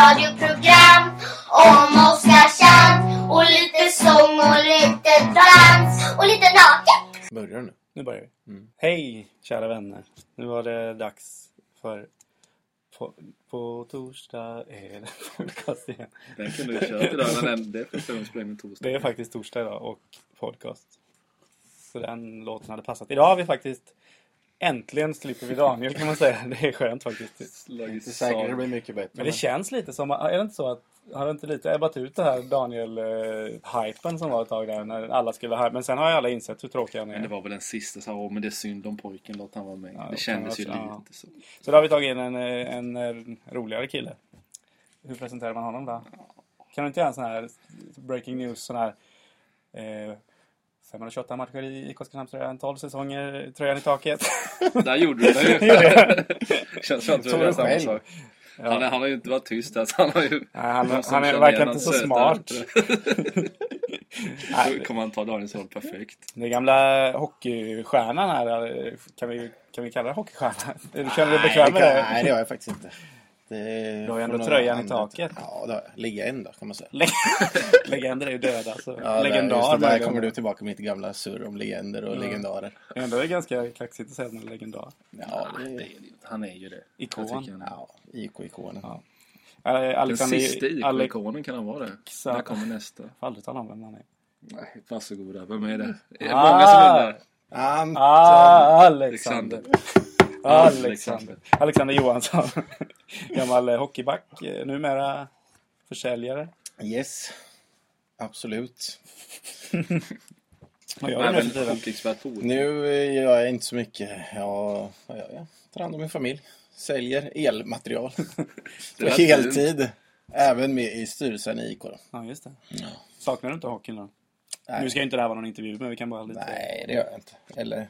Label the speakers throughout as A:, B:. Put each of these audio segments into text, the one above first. A: radioprogram om Oskarshamn och lite sång och lite dans och lite naket.
B: Börjar du nu?
C: Nu börjar vi. Hej kära vänner. Nu var det dags för på, på torsdag är det podcast igen.
B: Den kunde du kört idag men den, det är första gången vi spelar in en torsdag.
C: Det är faktiskt torsdag idag och podcast. Så den låten hade passat. Idag har vi faktiskt äntligen slipper vi Daniel kan man säga. Det är skönt faktiskt.
B: Slagit
D: Det är säkert det
B: sal.
D: blir mycket bättre.
C: Men det känns lite som, är det inte så att har det inte lite ebbat ut det här Daniel-hypen som var ett tag där när alla skulle ha Men sen har ju alla insett hur tråkiga han
B: Men det
C: är.
B: var väl den sista så här, åh men det är synd om pojken, låt han vara med.
C: Ja,
B: det
C: det
B: kändes ju
C: kan jag också,
B: lite så.
C: Så då har vi tagit in en, eh, en eh, roligare kille. Hur presenterar man honom då? Kan du inte göra en sån här breaking news, sån här eh, 528 matcher i IK Oskarshamnströjan, 12 säsonger, tröjan i taket.
B: Där gjorde du det ju! Känns som att du
D: Tror
B: gör
D: du
B: samma
D: själv?
B: sak. Han, är- han har ju inte varit tyst alltså. Han har ju...
C: Nej, han,
B: Någon som
C: han är,
B: känner
C: verkar
B: igen
C: inte så
B: hans söta
C: smart.
B: rötter. Då kommer han ta Daniels roll perfekt.
C: Den gamla hockeystjärnan här, eh, kan vi, kan vi kalla det hockeystjärna? Är du- Känner du dig bekväm med
D: det? kan-
C: det?
D: Nej, det gör jag faktiskt inte. Det är
C: Du har ju ändå
D: från
C: tröjan i
D: andra-
C: taket.
D: Ja, det har jag. Legend då, kan man säga.
C: Leg- Legender är ju döda. Så.
D: Ja,
C: Legendar. Mm.
D: Där, just det, där
C: möjligen.
D: kommer du tillbaka med ditt gamla surr om legender och legendarer.
C: Ändå är det ganska kaxigt att säga att man är legendar.
D: Ja,
C: Mm.
D: det är,
B: Han är ju det.
C: Ikon.
B: Jag tycker han är.
D: ja IK-ikonen.
C: Ja.
B: Den
C: Eh, Alexander,
B: sista
C: Alex-
B: IK-ikonen kan han vara det. Där kommer nästa.
C: Jag får aldrig tala om vem han är.
B: Nej, varsågoda. Vem är det? Är det
C: Ah!
B: många som undrar?
D: Ant-
C: Ah,
B: Alexander.
C: Alexander.
B: Alexander.
C: Alexander. Alexander Johansson. Gammal eh, hockeyback, eh, numera försäljare.
D: eh, yes. Absolut.
C: Vad gör du
B: Nej,
C: nu för
B: men
C: tiden?
B: kokexpert på ordet.
D: Nu eh, gör jag inte så mycket. Jag, vad gör jag tar hand om min familj. Säljer elmaterial.
B: Det
D: På
B: lät fint.
D: heltid. Även med i styrelsen i IK. Då.
C: Ja, just det. Saknar du inte hockeyn då?
D: Nej.
C: Nu ska ju inte det här vara någon intervju, men vi kan bara lite...
D: Nej, det gör jag inte. Eller,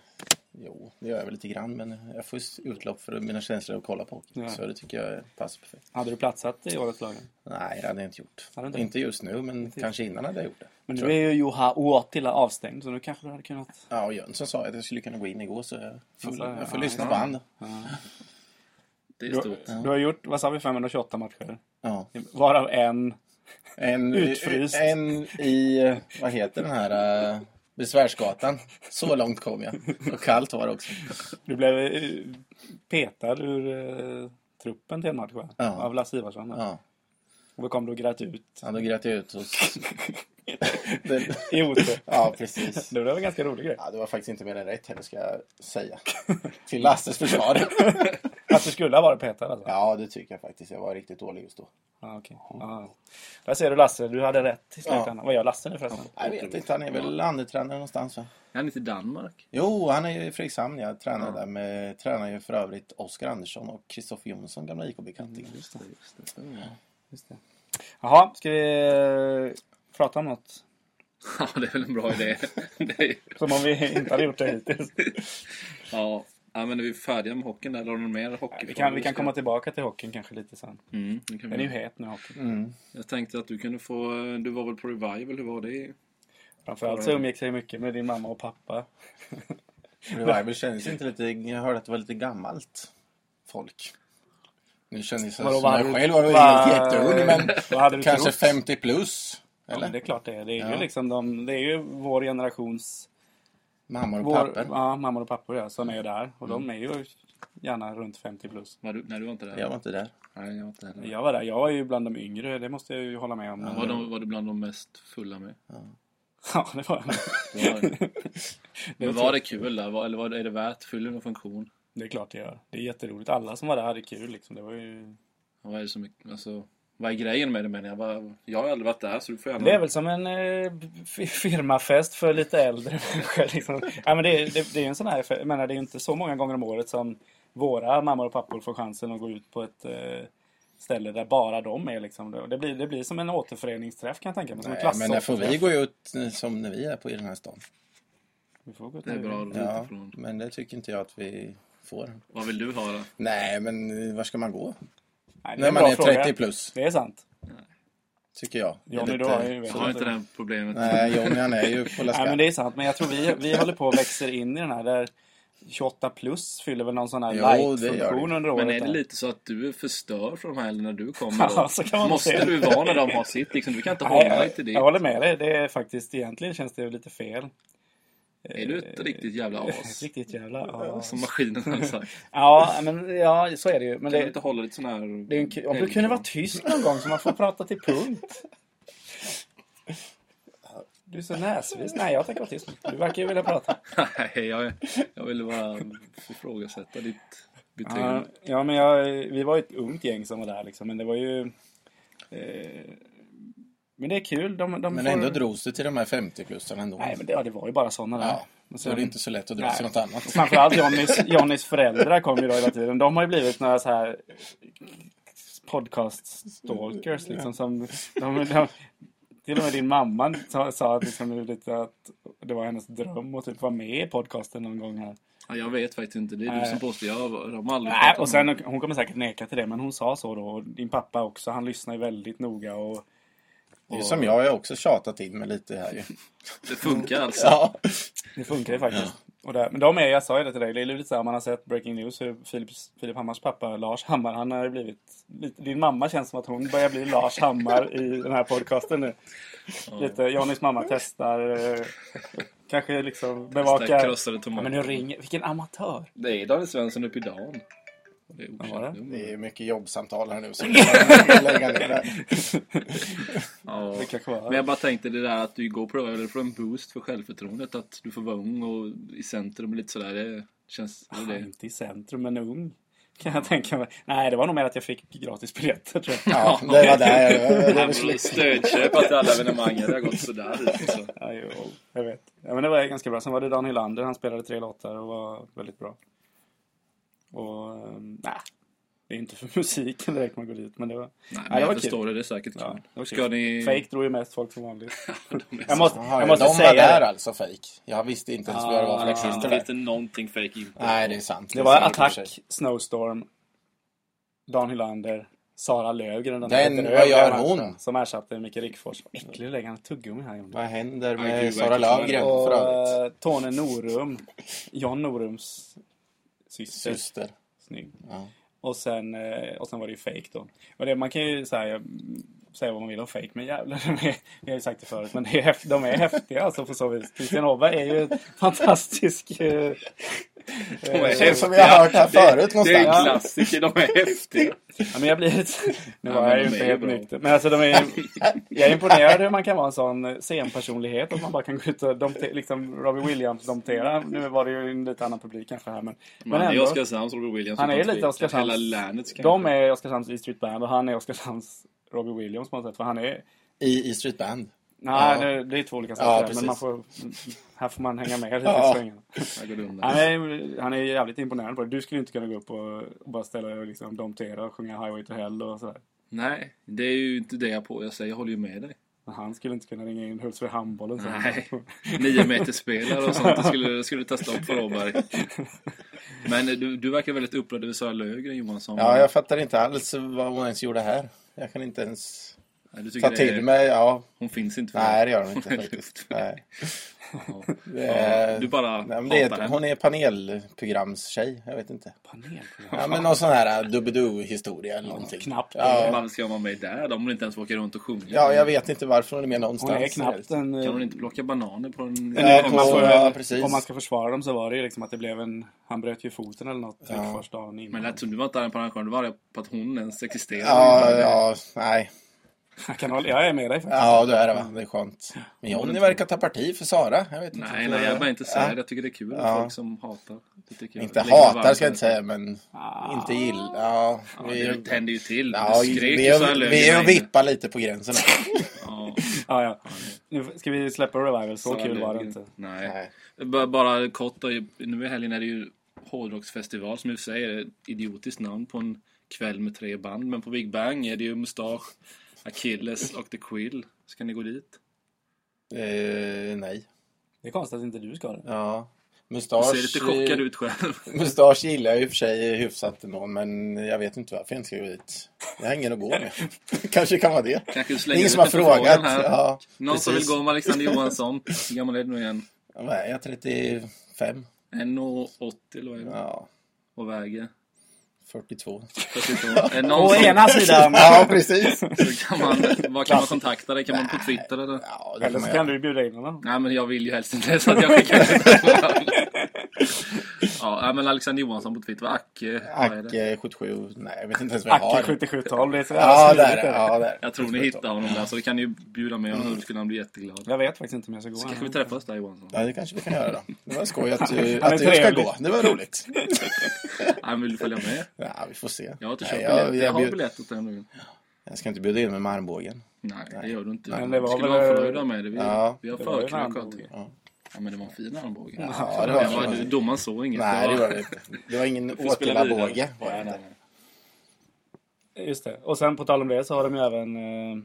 D: jo, det gör jag väl lite grann. Men jag får just utlopp för mina känslor att kolla på hockey.
C: Ja.
D: Så det tycker jag passar perfekt.
C: Hade du platsat i årets lag?
D: Nej, det hade jag inte gjort.
C: Hade du
D: inte?
C: inte?
D: just nu, men kanske innan hade jag gjort det.
C: Men
D: tror
C: nu är ju Juha Uotila avstängd, så nu kanske du hade kunnat...
D: Ja, och Jönsson sa att jag skulle kunna gå in igår, så jag får,
C: Alltså,
D: jag får
C: ja,
D: lyssna
B: ja.
D: på han. då.
B: Det är
C: Du,
B: stort.
C: du har gjort, vad sa vi, 528 matcher?
D: Ja.
C: Varav en...
D: En,
C: Utfryst.
D: En i, vad heter den här, eh, Besvärsgatan. Så långt kom jag. Och kallt var det också.
C: Du blev eh, petad ur eh, truppen till en match, va?
D: Ja.
C: Av Lasse Ivarsson. va?
D: Ja,
C: Och då kom du och grät ut.
D: ja då grät jag ut hos... Den...
C: I Otö.
D: Ja, precis.
C: Det var en ganska rolig grej.
D: Ja, det var faktiskt inte mer än rätt heller ska jag säga. Till Lasses försvar.
C: Att du skulle ha varit petad alltså?
D: Ja, det tycker jag faktiskt. Jag var riktigt dålig just då.
C: Ah, okej. Ah. Där ser du Lasse, du hade rätt i slutändan. Vad gör Lasse nu förresten?
D: Jag vet inte, han är väl landetränare någonstans va?
B: Är han inte i Danmark?
D: Jo, han är ju i Fredrikshamn. Jag tränar där med, tränar ju för övrigt Oskar Andersson och Kristoffer Jonsson, gamla
C: Mm,
D: IK-bekantingen.
B: Just det.
C: Just det. Jaha, ska vi eh, prata om något?
B: Ja, det är väl en bra idé. Det är,
C: Som om vi inte hade gjort det hittills.
B: ja. ja, men är vi färdiga med hockeyn där? Eller har du någon mer hockey?
C: Vi kan, vi kan komma tillbaka till hockeyn kanske lite sen.
B: Mm, det kan
C: Den är ju
B: vi.
C: het nu, hockeyn.
D: Mm.
B: Jag tänkte att du kunde få... Du var väl på Revival? Hur var det?
C: Framförallt så umgicks jag ju mycket med din mamma och pappa.
D: Revival kändes inte lite... Jag hörde att det var lite gammalt folk. Nu kändes jag
C: Vadå,
D: som
C: vad
D: jag
C: hade-
D: själv var väl
C: vad-
D: helt jätteung,
C: vad hade
D: men
C: du
D: kanske
C: trott?
D: 50 plus.
C: Ja, men
D: Eller?
C: det är klart det är. Det är,
D: Ja.
C: ju liksom de, det är ju vår generations
D: Mammor och
C: vår,
D: pappor.
C: ja, mammor och pappor Mm. ja, som är där. Och de är ju gärna runt 50 plus.
B: Var du, nej, du var inte där?
D: Jag var inte där.
B: Nej, jag var inte heller.
C: Jag var där. Jag var ju bland de yngre, det måste jag ju hålla med om. Men-
B: Var, de, var du bland de mest fulla med?
C: Ja, det var
B: Det var, det. men
C: tror-
B: var det kul där? Var, eller var, det- är det värt? Fyller det någon funktion?
C: Det är klart det gör. Det är jätteroligt. Alla som var där hade kul liksom. Det var ju...
B: Vad är det som... Alltså, vad är grejen med det menar jag? Vad, jag har aldrig varit där så du får gärna...
C: Det är väl som en eh, f- firmafest för lite äldre människor. Liksom. Ja, men det, är- det, det är ju en sån här... Jag menar, det är ju inte så många gånger om året som våra mammor och pappor får chansen att gå ut på ett eh, ställe där bara de är. Liksom. Det, det, blir, det blir som en återföreningsträff kan jag tänka mig. Som en
D: Nej, Eh, men där får vi
C: klassåterträff.
D: gå ut eh, som när vi är på i den här stan.
C: Vi får gå
B: Det är
C: till-
B: bra att
D: Ja,
B: utifrån.
D: men det tycker inte jag att vi får.
B: Vad vill du ha då?
D: Nej, men eh, var ska man gå?
C: Nej, det
D: När
C: en
D: man
C: bra
D: är 30
C: fråga.
D: plus,
C: Det är sant.
D: tycker jag. Det är
C: Johnny,
D: lite-
C: du har ju... vet
B: Jag har
C: inte.
B: inte det här problemet.
D: Nej, Johnny han är ju på
C: Nej,
D: Laska.
C: men det är sant. Men jag tror vi, vi håller på och växer in i den här där 28 plus fyller väl någon sån här
D: Jo, det gör
C: light-funktion
D: det.
C: under året.
B: Men är det
C: där.
B: lite så att du är förstörd för de här eller när du kommer?
C: Ja,
B: Då?
C: så kan man
B: Måste
C: säga.
B: du vara när de har sitt? Liksom, du kan inte
C: Nej,
B: hålla dig till
C: jag,
B: det.
C: jag håller med dig. Det är faktiskt, egentligen känns det ju lite fel.
B: Är du ett riktigt jävla as?
C: Riktigt jävla as.
B: Som maskinen har sagt.
C: Ja, men ja, så är det ju. Men
B: Kan du
C: det,
B: inte hålla lite sån här...
C: det är ju en, ku- om du kunde vara tyst någon gång så man får prata till punkt. Du är så näsvis. Nej, jag tänker vara tyst. Du verkar ju vilja prata.
B: Nej, jag, jag ville bara ifrågasätta ditt
C: Ja,
B: beteende.
C: ja, men jag, vi var ju ett ungt gäng som var där liksom. Men det var ju... Eh, men det är kul. De, de
D: Men
C: får...
D: ändå drogs det till de här 50-plussarna ändå.
C: Nej, men det, ja, det var ju bara sådana där.
D: Ja,
C: Men
D: så är det inte så lätt att dra
C: Nej.
D: till något annat.
C: Framförallt Johnnys, Johnnys föräldrar kom ju då hela tiden. De har ju blivit några så här podcast-stalkers liksom. Som, de, de, till och med din mamma sa, sa att, liksom, nu lite att det var hennes dröm att typ vara med i podcasten någon gång här.
B: Ja, jag vet faktiskt inte. Det är du
C: Nej.
B: som påstår. Jag, de har aldrig
C: Nej,
B: pratat om
C: och sen, hon kommer säkert neka till det, men hon sa så då. Och din pappa också, han lyssnar ju väldigt noga. Och,
D: Det är ju som jag, jag har också tjatat in mig lite här ju.
B: det. Det funkar alltså.
D: Ja.
C: Det funkar ju faktiskt. Och där, men de är, jag sa ju det till dig, det är lite så här, man har sett Breaking News hur Filip, Filip Hammars pappa Lars Hammar, han har ju blivit, lite, din mamma känns som att hon börjar bli Lars Hammar i den här podcasten nu. Lite, Johnnys mamma testar, eh, kanske liksom
B: Starkt
C: bevakar.
B: krossade
C: Ja, men
B: tomater.
C: nu ringer, vilken amatör!
B: Det är Daniel Svensson uppe i dagen. Det är
C: Ja, var
B: okänt.
C: det?
D: Det är mycket jobbsamtal här nu. Så jag får lägga ner det.
B: Ja.
C: Det kanske
B: Men
C: var.
B: jag bara tänkte det där att du igår prövade det för en boost för självförtroendet. Att du får vara ung och i centrum och lite sådär. Det känns... Det är
C: Han är
B: det.
C: inte i centrum, men ung. Kan jag tänka mig. Nej, det var nog mer att jag fick gratis biljetter tror jag.
D: Ja, det var där jag- jag... jag-
B: Jävla Stödköp till alla evenemang. Det har gått sådär hittills. så.
C: Ja, jo, jag vet. Ja, men det var ganska bra. Sen var det Dan Hylander. Han spelade tre låtar och var väldigt bra. Och ehm, nej, det är inte för musiken direkt man går dit. Men det var,
B: Nej, men
C: Ja, det
B: jag
C: var
B: förstår det. Det är säkert
C: ja,
B: kul.
C: det var
B: Ska
C: kul.
B: ni...
C: Fake drog ju mest folk som vanligt.
B: är
C: jag måste,
D: Jaha,
C: jag måste
D: de
C: säga
D: var där
C: det.
D: alltså, fake. Jag visste inte ens
C: Ah,
D: vad det var för
C: det
D: artister
B: Det
D: där.
B: finns det någonting fake in.
D: Nej, det är sant.
C: Det var
D: är sant i och för
C: Attack,
D: sig.
C: Snowstorm, Dan Hylander, Sara Löfgren. Den,
D: Den,
C: lite
D: vad
C: röviga
D: gör
C: matchen
D: hon?
C: Som ersatte Micke Rickfors. Vad äcklig du lägger han tuggummi här. John.
D: Vad händer
B: Aj,
D: med
B: gud,
D: Sara
B: verkligen.
D: Lövgren för
C: Och
D: övrigt?
C: eh, Tone Norum, John Norums syster.
D: Syster.
C: Snygg.
D: Ja.
C: Och sen, eh, och sen var det ju fake då. Och det, man kan ju säga, mm, säga vad man vill om fake, men jävlar, de är, vi har ju sagt det förut, men det är, häft- de är häftiga alltså på så vis. Christian Åberg är ju en fantastisk... Eh,
B: är
D: Det känns
B: häftiga.
D: som vi har hört här förut
B: Det är en
D: någonstans.
B: klassiker. De är häftiga.
C: ja, men jag blir lite... Nu
B: Ja,
C: var
B: men
C: jag ju
B: de är
C: inte
B: ju
C: helt
B: bra.
C: nykter. Men alltså de är ju... Jag är imponerad hur man kan vara en sån eh, scenpersonlighet, att man bara kan gå ut och domte, liksom Robbie Williams-domtera. Nu var det ju en lite annan publik kanske här, men...
B: Men han är Oskarshamns Robert Williams.
C: Han är
D: Typ
B: utan
C: lite
B: tvekan.
C: Oskarshamns...
B: Hela länets kanske.
C: De är Oskarshamns E Street Band och han är Oskarshamns Robbie Williams på något sätt. För han är...
D: I, I Street Band.
C: Nej,
D: Ja.
C: det, det är två olika
D: Ja,
C: saker. men
D: precis.
C: man får, här får man hänga med lite
D: Ja.
C: i svängarna.
B: Här går det undan.
C: Han är, han är jävligt imponerande på det. Du skulle inte kunna gå upp och, och bara ställa dig och liksom domtera och sjunga Highway to Hell och sådär.
B: Nej, det är ju inte det jag på. Jag säger, jag håller ju med dig.
C: Men han skulle inte kunna ringa in Hultsfred Handbollen. så.
B: Nej, nio meter spelare och sånt. Det skulle, det skulle ta stopp för Åberg. Men du, du verkar väldigt upprörd över Sara Löfgren Johansson.
D: Ja, jag fattar inte alls vad hon ens gjorde här. Jag kan inte ens
B: Nej, du tycker
D: ta
B: det
D: till
B: är-
D: mig. Ja,
B: Hon finns inte för
D: nej,
B: dig.
D: det gör hon inte
B: Hon är
D: faktiskt.
B: luft.
D: Nej.
B: Ja.
D: Det är-
B: Ja, Du bara
D: Nej, men det
B: hatar
D: är,
B: henne.
D: hon är panelprogramstjej, jag vet inte.
C: Panelprogram.
D: Ja, men någon sån här dubbidoo-historia eller någonting.
C: knappt.
D: Ja,
B: Varför ska man vara med där då? Om hon inte ens åker runt och sjunger.
D: ja, jag vet inte varför hon är med
C: Hon
D: någonstans.
C: är knappt en...
B: Kan hon inte plocka bananer på en...
D: Nej,
B: på-
D: på-
C: man får,
D: Ja, precis.
C: om man ska försvara dem så var det ju liksom att det blev en... Han bröt ju foten eller något
D: Ja.
C: Rickfors dagen
B: Men
C: innan.
B: det lät som du var inte arg på arrangören. Du var arg på att hon ens existerar.
D: Ja, ja, nej.
C: Jag, kan hålla, jag är med dig faktiskt.
D: Ja, det är det va. Det är skönt. Men Johnny verkar ta parti för Sara. Jag vet inte.
B: Nej, nej, jag bara inte säga det. Jag tycker det är kul med
D: Ja.
B: folk som hatar. Det tycker jag.
D: Inte
B: Lägger varmt
D: hatar ska jag
B: om.
D: inte säga, men inte gillar. Ja,
B: Ja,
D: vi,
B: det tände ju till.
D: ja,
B: du skrek
D: vi,
B: ju så här
D: är,
B: lögn
D: vi
B: i
D: är och
B: väggen.
D: vippar lite på gränsen.
B: Ja,
C: Ja, ja. Nu ska vi släppa Revival, så
B: så här
C: kul var det
B: lögn.
C: inte.
B: Nej.
D: Nej.
B: Bara, bara kort då. Nu i helgen är det ju hårdrocksfestival som i och för sig är ett idiotiskt namn på en kväll med tre band. Men på Big Bang är det ju Mustasch, Achilles och The Quill. Ska ni gå dit?
D: Eh, nej.
C: Det är konstigt att inte du ska det.
D: Ja.
B: Du
D: Mustasch,
B: ser lite chockad ut själv.
D: mustasch gillar jag i och för sig hyfsat ändå, men jag vet inte varför jag inte ska gå dit. Jag har ingen att gå med. Kanske kan vara det.
B: Kanske du
D: Det
B: slänger
D: är ingen
B: ut
D: som har
B: en förfrågan
D: frågat.
B: Här.
D: Ja,
B: Någon som vill
D: precis.
B: gå med Alexander Johansson. Hur gammal är du nu igen?
D: Vad är jag? 35?
B: 1,80 eller vad är det?
D: Ja,
B: Och väger
D: 42.
B: 42. Är det någon
C: Å
B: som,
C: ena sidan.
D: Ja, precis.
B: så kan man, vad kan man kontakta dig? Kan man på Twitter eller?
D: Ja, det kan
C: Eller så
D: man
C: kan
D: göra.
C: du bjuda in honom.
B: Nej, men jag vill ju helst inte så att jag skickar ut Ja, nej, men Alexander Johansson på Twitter. Acke, vad är det?
D: Acke 77. Nej, jag vet inte ens vad jag har.
C: Acke 7712. Det är så
D: Ja,
C: jävla
D: där.
C: smidigt.
D: Ja, där.
B: Jag tror ni hittar honom där, så vi kan ju bjuda med honom. Då skulle han bli jätteglad.
C: Jag vet faktiskt inte om jag ska gå.
B: Så kanske vi träffas där Johansson.
D: Ja, det kanske vi kan göra då. Det var skoj att, du,
C: Han är
D: att jag ska
C: trevlig.
D: gå. Det var roligt.
B: Han vill du följa med?
D: Ja, vi får se.
B: Jag har inte
D: Nej,
B: köpt
D: jag-
B: biljett. Jag
D: jag
B: har
D: bjud-
B: biljett åt den. nu.
D: Jag ska inte bjuda in mig med armbågen.
B: Nej, det gör du inte.
C: Men
B: det
C: det var
B: skulle
C: väl-
B: vara förnöjda med det. Vi,
D: Ja.
B: vi har
C: Det var ju en
B: förkrök och
C: armbåge.
B: allting. Ja, men det var en fin armbåge.
D: Ja, det
B: det
D: var
B: var, du- domaren såg inget.
D: Nej, det var det inte. Det var ingen
B: Vi får spela vidare.
D: Åtvidabåge. var det
B: Nej,
D: inte.
B: nej, nej.
C: Just det. Och sen på tal om det så har de ju även... Eh,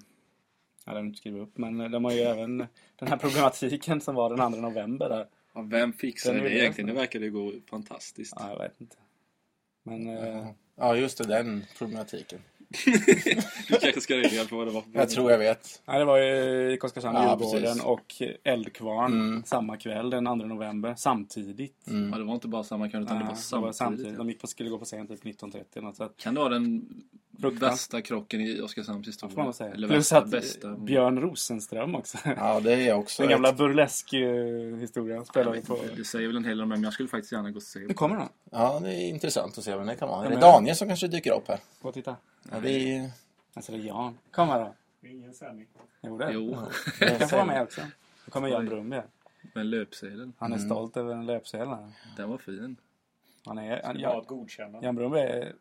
C: jag har inte skrivit upp, men de har ju även den här problematiken som var den 2 november. Där.
B: Ja, Vem fixar
C: Den
B: det
C: är ju-
B: egentligen? Det verkade ju gå fantastiskt.
C: Ja, jag vet inte. Men... Eh,
D: Ja, just det. Den problematiken.
B: Du kanske ska reda på vad det var.
D: Jag tror jag vet.
C: Nej, det var ju IK Oskarshamn,
D: Ja,
C: Djurgården
D: precis.
C: och Eldkvarn samma kväll den 2 november samtidigt.
B: Ja, det var inte bara samma kväll, utan det var
C: det
B: samtidigt.
C: var samtidigt. De gick på, skulle gå på scen typ 19.30 eller något. Så att,
B: Kan det vara den
C: Fruktansvärt.
B: värsta krocken i Oskarshamns historia?
C: får man väl säga.
B: Eller
C: Plus
B: värsta,
C: att
B: bästa?
C: Björn Rosenström också.
D: Ja, det är jag också.
C: Den gamla burlesk-historien spelade på...
B: Det säger väl en hel del om det, men jag skulle faktiskt gärna gå och se.
C: Nu kommer han.
D: Ja, det är intressant att se vem det kan vara. Är det
C: men-
D: Daniel som kanske dyker upp här?
C: Gå och titta.
D: Ja, det är...
C: Alltså det är Jan. Kom här då. Jo, det.
B: Jo,
C: Du kan få vara med också. Då kommer Jan Brumby. här.
B: men löpsedeln.
C: Han är stolt över en löpsedel. här.
B: Den var fin.
C: Han är... Han,
E: Ja,
C: Jan,
E: ett godkännande.
C: Jan Brumby är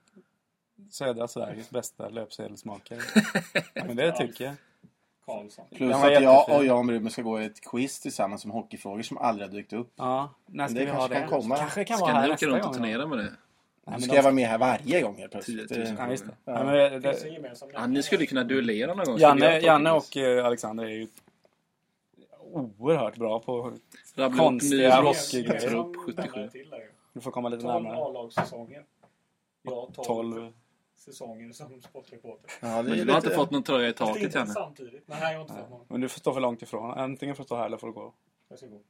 C: södra Sveriges bästa löpsedelsmakare. Ja, men det tycker jag.
E: Karlsson.
D: Plus
C: Den var
D: att jag
C: jättefin.
D: och Jan Brummer ska gå i ett quiz tillsammans om hockeyfrågor som aldrig har dykt upp.
C: Ja, när ska
D: det
C: vi ha
D: kanske
C: det?
D: kan komma.
C: Kanske kan vara
B: Ska
C: här
B: ni åka
C: nästa
B: runt och
C: gång.
B: turnera med det?
C: Nej,
D: Nu
C: men
D: ska
C: de-
D: jag vara med här varje gång helt plötsligt.
B: 10 000.
D: Det-
C: Ja, just det. Nej, men det-
E: Det finns en
C: det-
E: gemensam
B: Ja, ni skulle kunna duellera någon gång. Skulle
C: Janne,
B: jag ta
C: Janne
B: Thomas?
C: och eh, Alexander är ju oerhört bra på...
B: Rabbla upp ny
C: konstiga
B: rockig
C: rockgrejer.
B: trupp 77.
C: Du får komma lite
E: 12
C: närmare.
E: A-lagssäsonger. Jag 12
C: 12.
E: säsonger som sportreporter.
D: Ja, det
B: Men
D: är
B: du har inte
D: lite-
B: fått någon tröja i
E: Fast
B: taket
E: inte
B: Janne?
E: samtidigt. Nej, jag har inte fått någon.
C: Men du får stå för långt ifrån. Antingen får du stå här eller får du gå.
E: Jag ska gå.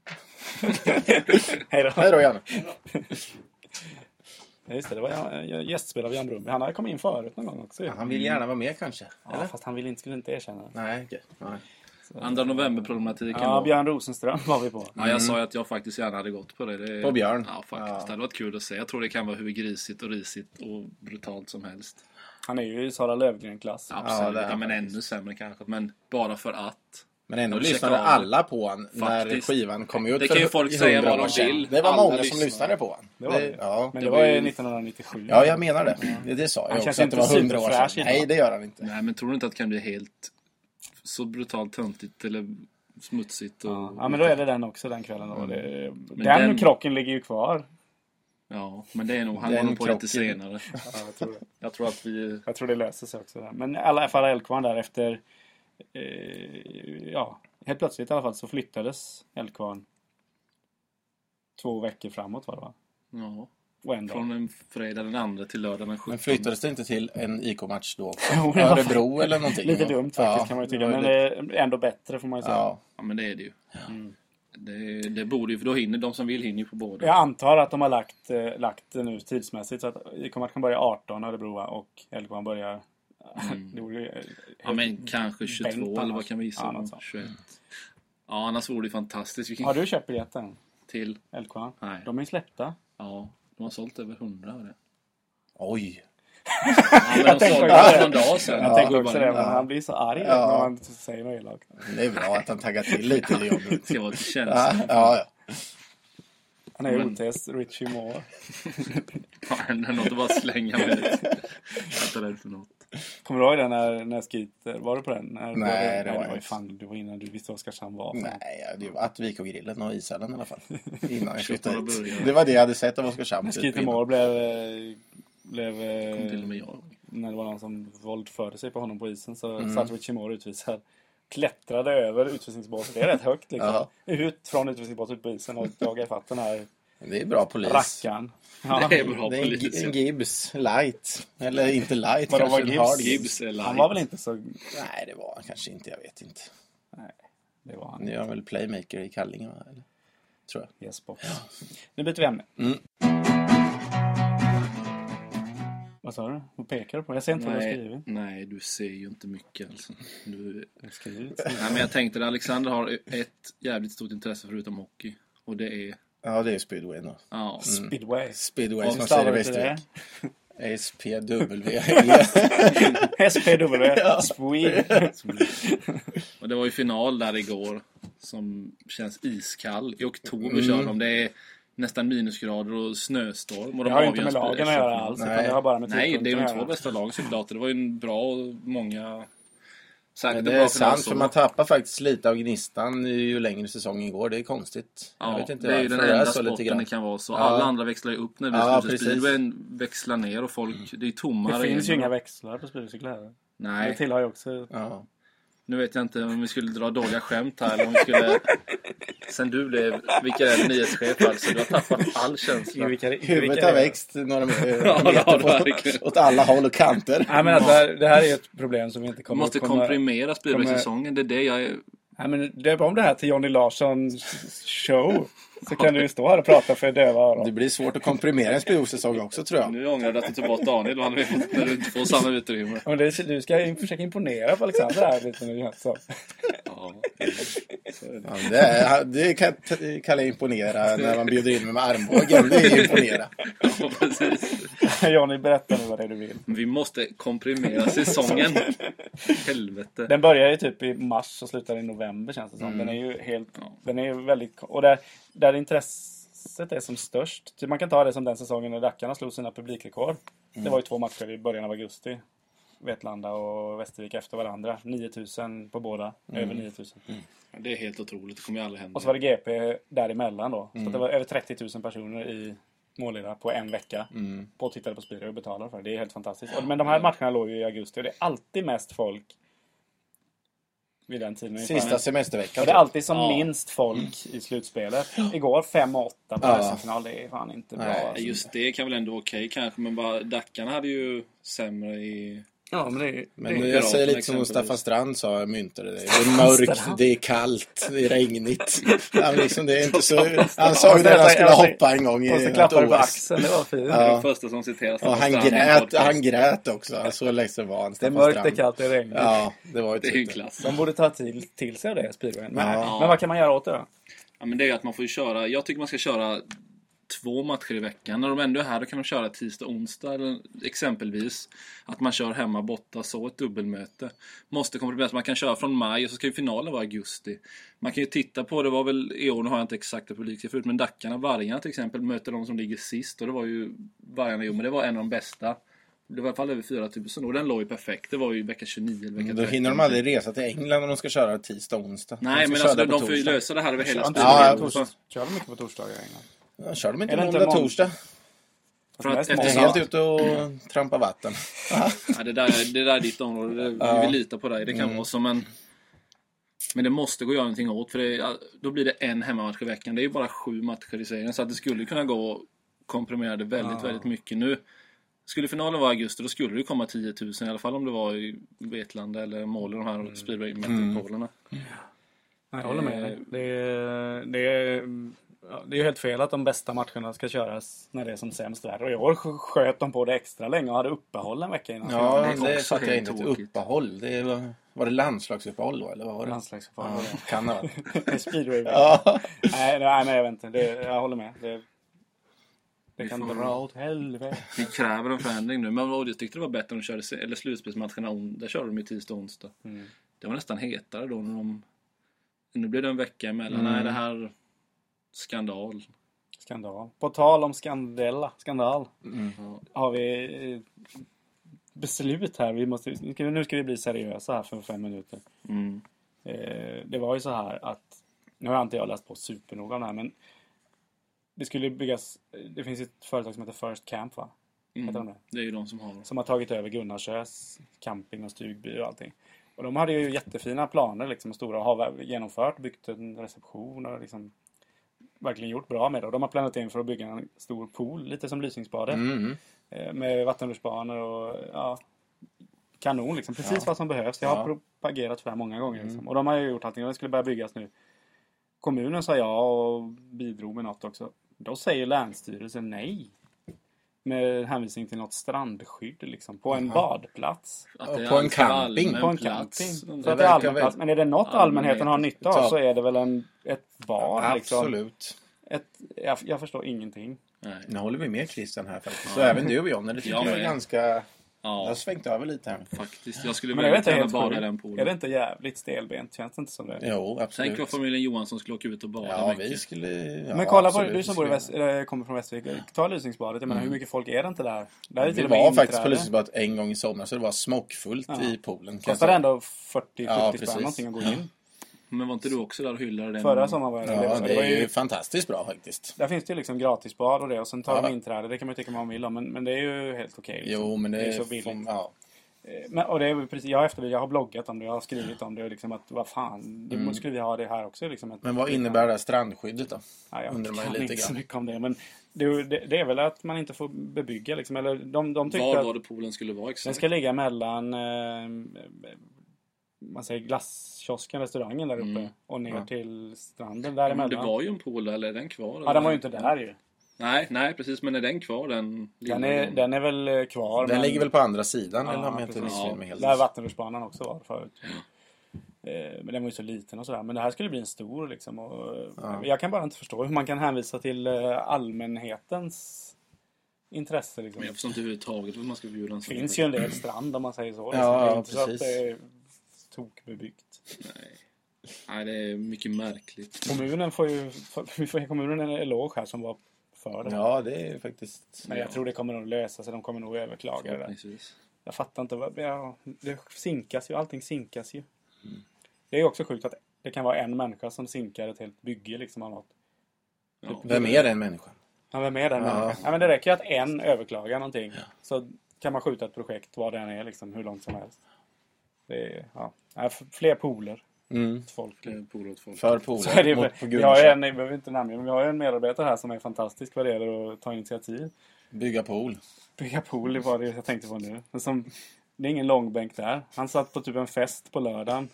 C: Hej då.
D: Hej då, Janne.
C: Ja, Just det, det var Jan- eh, gästspel av Jan Brumby. Han har kommit in förut någon gång också ju.
D: Han vill gärna vara med kanske?
C: Mm. Ja, fast han vill inte, skulle inte erkänna det.
D: Nej, okej. Nej.
B: Andra november-problematiken
C: Ja,
B: var-
C: Björn Rosenström var vi på.
B: Ja, jag sa ju att jag faktiskt gärna hade gått på det. det
D: Mm. På Björn?
B: Ja, faktiskt.
D: Ja.
B: Det hade varit kul att se. Jag tror det kan vara hur grisigt och risigt och brutalt som helst.
C: Han är ju i Sara Lövgren-klass.
B: Absolut.
D: det
B: Ja,
D: är
B: men
D: faktiskt.
B: ännu sämre kanske. Men bara för att.
D: Men ändå
B: De checkar
D: lyssnade
B: av.
D: alla på han när
B: Faktiskt.
D: skivan kom ut
B: Det
D: för
B: kan ju folk säga
D: 100
B: vad de
D: år sedan.
B: vill.
D: Det var
B: Alla
D: många som
B: lyssnade.
D: lyssnade på han.
C: Det var det.
D: Ja.
C: Men
B: det
C: det
B: var
C: var ju
B: ju-
C: 1997.
D: ja, jag menar det. Det, det sa jag
C: Han
D: också,
C: kanske
D: att det
C: inte
D: var 100 år
C: superfräsch
D: sedan.
C: idag.
D: Nej, det gör han inte.
B: Nej, men tror du inte att det kan bli helt så brutalt töntigt eller smutsigt? Och...
C: Ja, men då är det den också den kvällen. Då. Det, den,
B: den-
C: krocken ligger ju kvar.
B: Ja, men det är nog, han
D: Den
B: går nog på lite
D: krocken.
B: senare.
C: Ja, jag, tror det.
B: Jag tror att vi...
C: jag tror det löser sig också. Där. Men i alla fall Eldkvarn där efter... Eh, ja, helt plötsligt i alla fall så flyttades Eldkvarn två veckor framåt var det va?
B: Ja,
C: Och en dag.
B: från en fredag den andra till lördag den 17.
D: Men flyttades det inte till en IK-match då också?
C: Jo, det var
D: Örebro eller någonting?
C: Lite dumt faktiskt
D: Ja,
C: kan man ju
D: det
C: tycka.
D: var
C: Men
D: lite-
C: eh, ändå bättre får man ju säga.
D: Ja,
B: Ja, men det är det ju. Mm. Det, det borde ju, för då hinner de som vill hinner ju på båda.
C: Jag antar att de har lagt, eh, lagt det nu tidsmässigt så att IK-matchen börjar 18 Örebro va? och Eldkvarn börjar...
D: Mm.
C: det vore ju, eh,
B: Ja, men kanske 22
C: Bengt
B: eller vad
C: annars.
B: kan vi gissa?
C: Ja,
B: Ja,
C: något sånt.
B: 21. Ja, annars vore det ju fantastiskt. Vilken
C: Har du köpt biljetten?
B: till...
C: Eldkvarn?
B: Nej.
C: De är ju släppta.
B: Ja, de har sålt över 100 av det.
D: oj.
B: Ja, men de
C: tänkte
B: sålde
C: faktiskt
B: det för
C: det.
B: en dag sedan.
C: Jag tänker också det,
B: det.
C: men han blir så arg
D: Ja.
C: när man säger något elakt.
D: Det är bra att han taggar till lite. Det är jobbigt.
B: ska vara lite
D: Ja,
B: känsligt.
D: ja, ja.
C: Han är ju
B: Men-
C: OTS Richie Moore.
B: Fan, det är något att bara slänga med ut. Jag är rädd för något.
C: Kommer du ihåg den när, när Skeeter, var du på den? När,
D: Nej, det var jag
C: det var ju
D: inte.
C: fan, du var innan du visste vad Oskarshamn var.
D: Nej, ja, det var Attvik-grillen och ishallen i alla fall. Innan jag flyttade
B: Köpte och
D: hit.
B: började.
D: Det var det jag hade sett av Oskarshamn. typ
C: Skeeter
D: innan.
C: Moore blev... eh, blev eh,
B: Till och med jag.
C: när det var någon som våldförde sig på honom på isen så
D: Mm.
C: satt Richie Moore utvisad. Klättrade över utvisningsbåset, det är rätt högt liksom.
D: Ja.
C: Ut från utvisningsbåset ut på isen och jagade ifatt den här
D: Det är bra polis.
C: rackaren. Ja.
B: Det är bra
D: Det är en, Gi-
B: polis.
D: en Gibbs light. Eller inte light,
C: Vadå,
D: kanske
C: var
D: en
C: Gibbs?
D: hard
B: Gibbs är light.
C: Han var väl inte så...
D: Nej, det var han kanske inte. Jag vet inte.
C: Nej, det var han
D: Nu är han väl playmaker i Kallinge, va? Eller? tror jag.
C: Yes, box. Nu byter vi ämne.
D: Mm.
C: Vad sa du? Vad pekar du på? Jag ser inte vad du har
B: Nej,
C: skrivit.
B: nej, du ser ju inte mycket alltså. Du...
C: Jag skriver.
B: Nej, men jag tänkte att Alexander har ett jävligt stort intresse förutom hockey. Och det är...
D: Ja, det är speedway då.
B: Ja.
C: Speedway.
D: Speedway
C: Vad
D: som man säger i
C: stavar du till det?
D: Västervik. SPW.
C: SPW. Speed.
B: Och det var ju final där igår som känns iskall. I oktober
C: Mm.
B: kör de. Det är nästan minusgrader och snöstorm. Och de
C: Det har ju
B: avgör
C: inte med
B: en
C: lagen att
B: spe-
C: göra alls. utan
D: Nej.
C: Det har bara med
B: Nej, det är
C: tidpunkten
B: de
C: att
B: två
C: göra.
B: bästa lagen såklart. Det var ju en bra många...
D: Men
B: Säkert
D: det
B: en bra
D: är sant,
B: så.
D: för man tappar faktiskt lite av gnistan ju längre säsongen går. Det är konstigt.
B: Ja,
D: jag vet inte
B: det är ju
D: varför
B: den
D: det
B: enda
D: så lite
B: sporten
D: grann.
B: det kan vara så.
D: Ja.
B: Alla andra växlar ju upp när vi
D: Ja,
B: ja,
D: precis. Mm.
B: speedwayen växlar ner och folk, det är tomma
C: Det finns ju
B: arenor.
C: inga växlar på speedcyklar. Det
B: Nej,
C: tillhör ju också...
D: Ja.
B: nu vet jag inte om vi skulle dra dåliga skämt här eller om vi skulle... Sen du blev, vilka är det, nyhetschef alltså, du har tappat all känsla.
D: Huvudet har växt några
B: Ja, det har
D: meter
B: det
D: åt,
B: verkligen.
D: åt alla håll och kanter.
C: Nej, men alltså, det här- det här är ett problem som vi inte
B: Du
C: kommer
B: måste
C: att komma...
B: komprimera speedwaysäsongen, det är det jag är...
C: Nej, men döp om det här till Johnny Larsson show. Så kan du ju stå här och prata för döva
D: Det
C: öron.
D: blir svårt att komprimera en speedwaysäsong också tror jag.
B: Nu ångrar du att du tog bort Daniel, då hade vi fått, när du inte får samma utrymme.
C: Men det, du ska ju försöka imponera på Alexander här lite nu känns det som.
B: Ja.
D: Ja, det, är, det kan jag t- kalla imponera när man bjuder in mig med armbågen. Det är imponera.
B: Ja, precis.
C: Johnny, berätta nu vad det är du vill.
B: Men Vi måste komprimera säsongen. Helvete.
C: Den börjar ju typ i mars och slutar i november känns det som. Den är ju helt...
B: Ja.
C: Den är ju väldigt... Och där, där intresset är som störst. Typ man kan ta det som den säsongen när Rackarna slog sina publikrekord. Det var ju två matcher i början av augusti. Vetlanda och Västervik efter varandra. 9000 på båda. Över 9000.
B: Det är helt otroligt, det kommer ju aldrig hända.
C: Och så var det GP däremellan då. Så att det
D: Mm.
C: var över 30 000 personer i Målilla på en vecka.
D: Mm.
C: På och tittade på Spira och betalade för det. Det är helt fantastiskt. Och- Men de här matcherna låg ju i augusti och det är alltid mest folk vid den tiden ungefär.
D: Sista semesterveckan.
C: Och det är alltid som
B: Ja.
C: minst folk i slutspelet. Igår 5 och 8 på
D: Ja.
C: SM-final. Det är fan inte bra. alltså.
D: Nej,
B: Nej, Just det kan väl ändå vara okej kanske, men bara Dackarna hade ju sämre i...
C: Ja, men det är...
D: Men
B: Det är
D: jag säger
B: Piraterna
D: lite som
B: exempelvis.
D: Staffan Strand sa, jag myntade det. Det är mörkt, det är kallt, det är regnigt. Han, liksom, det är inte så... han sa ju det när han skulle hoppa en gång i
C: Och så
D: något
C: klappar du på
D: OS.
C: axeln. Det var fint.
B: Det är
D: Ja.
B: Den första som citeras.
D: Och han
B: Staffan Strand i
D: grät,
B: podcast.
D: han grät också. Han så ledsen var han,
C: Det är
D: Staffan
C: mörkt, det är
D: Strand.
C: kallt, det är regn.
D: Ja, det var ju
B: Det är ju
D: typ det.
B: klass.
C: De borde ta till, till sig av det, speedwayen. Men,
D: Ja.
C: men vad kan man göra åt det då?
B: Ja, men det är ju att man får ju köra... Jag tycker man ska köra två matcher i veckan. När de ändå är här, då kan de köra tisdag, onsdag eller exempelvis. Att man kör hemma, borta, så ett dubbelmöte. Måste komprimera. Man kan köra från maj och så ska ju finalen vara i augusti. Man kan ju titta på, det var väl i år, nu har jag inte exakta publiksiffror förut, men Dackarna, Vargarna till exempel, möter de som ligger sist och det var ju Vargarna, jo men det var en av de bästa. Det var i alla fall över 4000 och den låg ju perfekt. Det var ju vecka 29 eller vecka 30.
D: Mm, Då hinner de aldrig resa till England om de ska köra tisdag, onsdag.
B: Nej,
D: de
B: men
D: ska köra
B: alltså
D: på
B: de får ju
D: torsdag.
B: lösa det här över hela
C: Kör
D: inte många
B: spelet.
D: tors-
B: För-
C: Kör de mycket på torsdagar i England?
D: Ja, Kör de inte
C: Är det inte
D: måndag,
C: mån-
D: torsdag?
C: Fast
B: För att
C: mest
D: Det är
B: eftersom-
C: måndag.
D: helt ute och trampar vatten.
B: Ja, det, där, det där är ditt område. Det, Vi vill lita på dig. Det kan vara så, men... Men det måste gå att göra någonting åt. För det, ja, då blir det en hemmamatch i veckan. Det är ju bara sju matcher i serien. Så att det skulle kunna gå att komprimera det väldigt, väldigt mycket. Nu skulle finalen vara i augusti, då skulle det ju komma 10 000. I alla fall om det var i Vetlanda eller Måle, de här speedway-metropolerna.
C: Nej, jag håller med dig. Eh, Det är, det, är, ja, det är helt fel att de bästa matcherna ska köras när det är som sämst där. Och i år sk- sköt de på det extra länge och hade uppehåll en vecka innan.
D: Ja,
B: det är
D: det
B: också
D: fattar jag
B: helt
D: inte. Ett
B: tråkigt.
D: uppehåll. Det var, var det landslagsuppehåll då, eller vad var det?
C: Landslagsuppehåll.
D: Ja, kan det vara.
C: Det är speedway.
D: Ja.
C: Nej, nej, nej, jag vet inte. Det, jag håller med. Det, det kan
B: får-
C: dra åt helvete.
B: Vi kräver en förändring nu. Men vad- jag tyckte det var bättre när de körde se- eller slutspelsmatcherna. on- Där körde de ju tisdag och onsdag.
C: Mm.
B: Det var nästan hetare då. När de, nu blev det en vecka emellan.
C: Mm.
B: Nej, det här... Skandal.
C: Skandal. På tal om skandella, skandal.
B: Mm.
C: Har vi eh, beslut här. Vi måste, nu ska vi- nu ska vi bli seriösa här för fem minuter.
B: Mm.
C: Eh, det var ju så här att, nu har inte jag läst på supernoga om det här men det skulle byggas, eh, det finns ett företag som heter First Camp va? Heter de det?
B: Det är ju de som har
C: Som har tagit över Gunnarsös camping och stugby och allting. Och de hade ju jättefina planer liksom, och stora och har väl genomfört, byggt en reception och liksom verkligen gjort bra med det. Och de har planerat in för att bygga en stor pool, lite som Lysingsbadet.
D: Mm.
C: Eh, Med vattenrutschbanor och ja, kanon liksom. Precis vad som behövs. Jag har
D: Ja.
C: propagerat för det här många gånger. Liksom. Och de har ju gjort allting. Och det skulle börja byggas nu. kommunen sa ja och bidrog med något också. Då säger Länsstyrelsen nej. Med hänvisning till något strandskydd liksom. På en
D: Jaha.
C: badplats.
B: Att det är
D: På en
B: alltså
D: camping,
B: allmän
C: På en
B: plats.
C: camping. Så
D: Det
C: att det är
D: verkar
C: allmän plats.
D: väl-
C: Men är det något allmänheten har nytta av så är det väl en, ett bar liksom.
D: Absolut.
C: Ett, jag, jag förstår ingenting.
B: Nej.
D: Nu håller vi med Christian här faktiskt. Så även du och John, det tycker
B: Jag
D: jag är
B: med.
D: ganska... Jag har
B: Ja,
D: svängt över lite här.
B: faktiskt. Jag skulle
C: Alltså- Men jag vet
B: väldigt
C: inte,
B: gärna
C: helt
B: bada i den
C: sjukt. Är det
B: poolen.
C: inte jävligt stelbent? Känns det inte som det?
D: Jo, absolut.
B: Tänk vad familjen Johansson skulle åka ut och bada
D: Ja, vi
B: mycket.
D: skulle... Ja,
C: Men kolla på,
D: absolut,
C: du
D: vi
C: som bor i
D: skulle-
C: väst, eller kommer från Västervik, ta Lysingsbadet. Jag menar hur mycket folk är det inte där? Där är det
D: Vi
C: till och med
D: var faktiskt på
C: inträde.
D: Lysebadet en gång i somras så det var smockfullt
C: Ja.
D: i poolen. kan jag
C: Kostar
D: säga.
C: ändå 40-70
D: Ja,
C: spänn
D: precis.
C: någonting att gå in.
B: Men var inte du också där och hyllade den?
C: Förra sommaren var jag där.
D: Ja,
C: det,
D: det
C: var
D: är
C: ju,
D: ju fantastiskt bra faktiskt.
C: där finns det ju liksom gratisbad och det och sen tar
D: Ja.
C: de inträde. Det kan man ju tycka vad man vill om men, men det är ju helt okej. liksom.
D: Jo, men det,
C: Det är
D: är
C: så billigt.
D: får- ja.
C: men, och det är väl precis, jag, har efter, jag har bloggat om det, jag har skrivit om det och liksom att vad fan, det måste skulle vi ha det här också liksom. Ett,
D: Mm. Men vad innebär det här strandskyddet då?
C: Ja, jag
D: undrar man ju
C: kan
D: lite
C: inte så
D: grann.
C: mycket om det men det, det, det är väl att man inte får bebygga liksom. Eller de, de tyckte
B: Var
C: att...
B: var det poolen skulle vara
C: Den
B: exakt?
C: ska ligga mellan eh, man säger glasskiosken, restaurangen där uppe och ner
D: Mm. Ja.
C: till stranden
B: Ja, men det
C: däremellan.
B: var ju en pool där, eller är den kvar?
C: Ja,
B: eller?
C: den var ju inte där ju.
B: Nej, nej precis. Men är den kvar den? lilla
C: Den är,
B: gången?
C: den är väl eh, kvar.
D: Den
C: men
D: ligger väl på andra sidan
C: Ja,
D: eller om jag inte
C: precis.
D: missminner mig helt. Mm.
C: Där vattenrutschbanan också var förut. Eh, Men den var ju så liten och sådär. Men det här skulle bli en stor liksom. Och eh,
D: Ja.
C: Jag kan bara inte förstå hur man kan hänvisa till eh, allmänhetens intresse. Liksom.
B: Men jag förstår inte överhuvudtaget varför man ska förbjuda en
C: Det
B: sån.
C: finns ju en del strand om man säger så. liksom.
D: Ja,
C: det är inte så att
D: precis.
C: det är tokbebyggt.
B: Nej, det är mycket märkligt.
C: Kommunen får ju vi får ge kommunen en eloge här som var för det.
D: Ja, det är faktiskt...
C: Men jag tror det kommer nog lösa sig. De kommer nog överklaga det där.
B: Förhoppningsvis.
C: Jag fattar inte. vad- Ja, det sinkas ju. Allting sinkas ju.
D: Mm.
C: Det är ju också sjukt att det kan vara en människa som sinkar ett helt bygge liksom av något.
B: Ja.
D: Vem är den människan?
C: Ja, vem är den
D: Ja.
C: människan? Ja, men det räcker ju att en överklagar någonting. Så kan man skjuta ett projekt vad det än är liksom. Hur långt som helst. Det är, ja. Ja, f- Fler pooler.
D: Mm.
C: Folk.
B: Eh, Polare åt folk.
D: För
C: Så är det,
D: polare
C: ju-
D: mot på
C: vi har ju
D: Gullmarn.
C: en, jag behöver inte namnge, men vi har ju en medarbetare här som är fantastisk vad det gäller att ta initiativ.
D: Bygga pool.
C: Bygga pool det var det jag tänkte på nu. Men som, det är ingen långbänk där. Han satt på typ en fest på lördagen.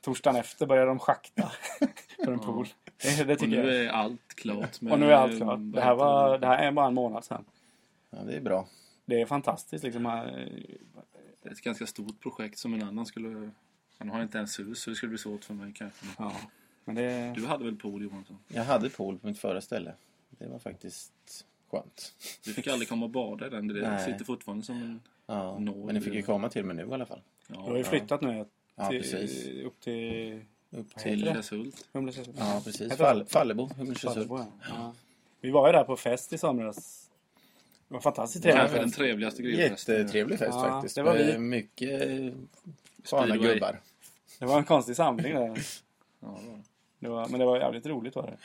C: Torsdagen efter började de schakta för en pool. Det, det
B: Och
C: tycker
B: nu
C: jag.
B: är allt klart. Med,
C: Och nu är allt
B: eh,
C: klart.
B: vad
C: Det här,
B: heter
C: var, det här är bara en månad sedan.
D: Ja, det är bra.
C: Det är fantastiskt liksom. eh,
B: det? Ett ganska stort projekt som en annan skulle... Han har inte ens hus så det skulle bli svårt för mig kanske.
C: Ja. Men det,
B: Du hade väl pool Johansson?
D: Jag hade pool på mitt förra ställe. Det var faktiskt skönt.
B: Du fick aldrig komma och bada i den. Det
D: Nej.
B: sitter fortfarande som en...
D: Ja.
B: Nå,
D: Men ni fick ju
B: det-
D: komma till mig nu i alla fall.
C: du har ju
B: Ja,
C: flyttat nu
D: Ja, precis.
C: till, upp till
D: Upp
B: till
D: till...
B: Kärrshult.
C: Humlesö.
D: Ja, precis.
C: Jag tror-
D: Fall, Fallebo, Humlesjöshult.
C: Fallebo, ja. Vi var ju där på fest i somras. Det var fantastiskt trevligt.
B: Kanske den trevligaste grillfesten.
D: Jättetrevlig fest
C: Ja,
D: faktiskt.
C: det var vi.
D: Eh, Mycket eh, sköna
B: Speedway.
D: gubbar.
C: Det var en konstig samling där.
B: Ja, det var det.
C: Det var, men det var jävligt roligt var det.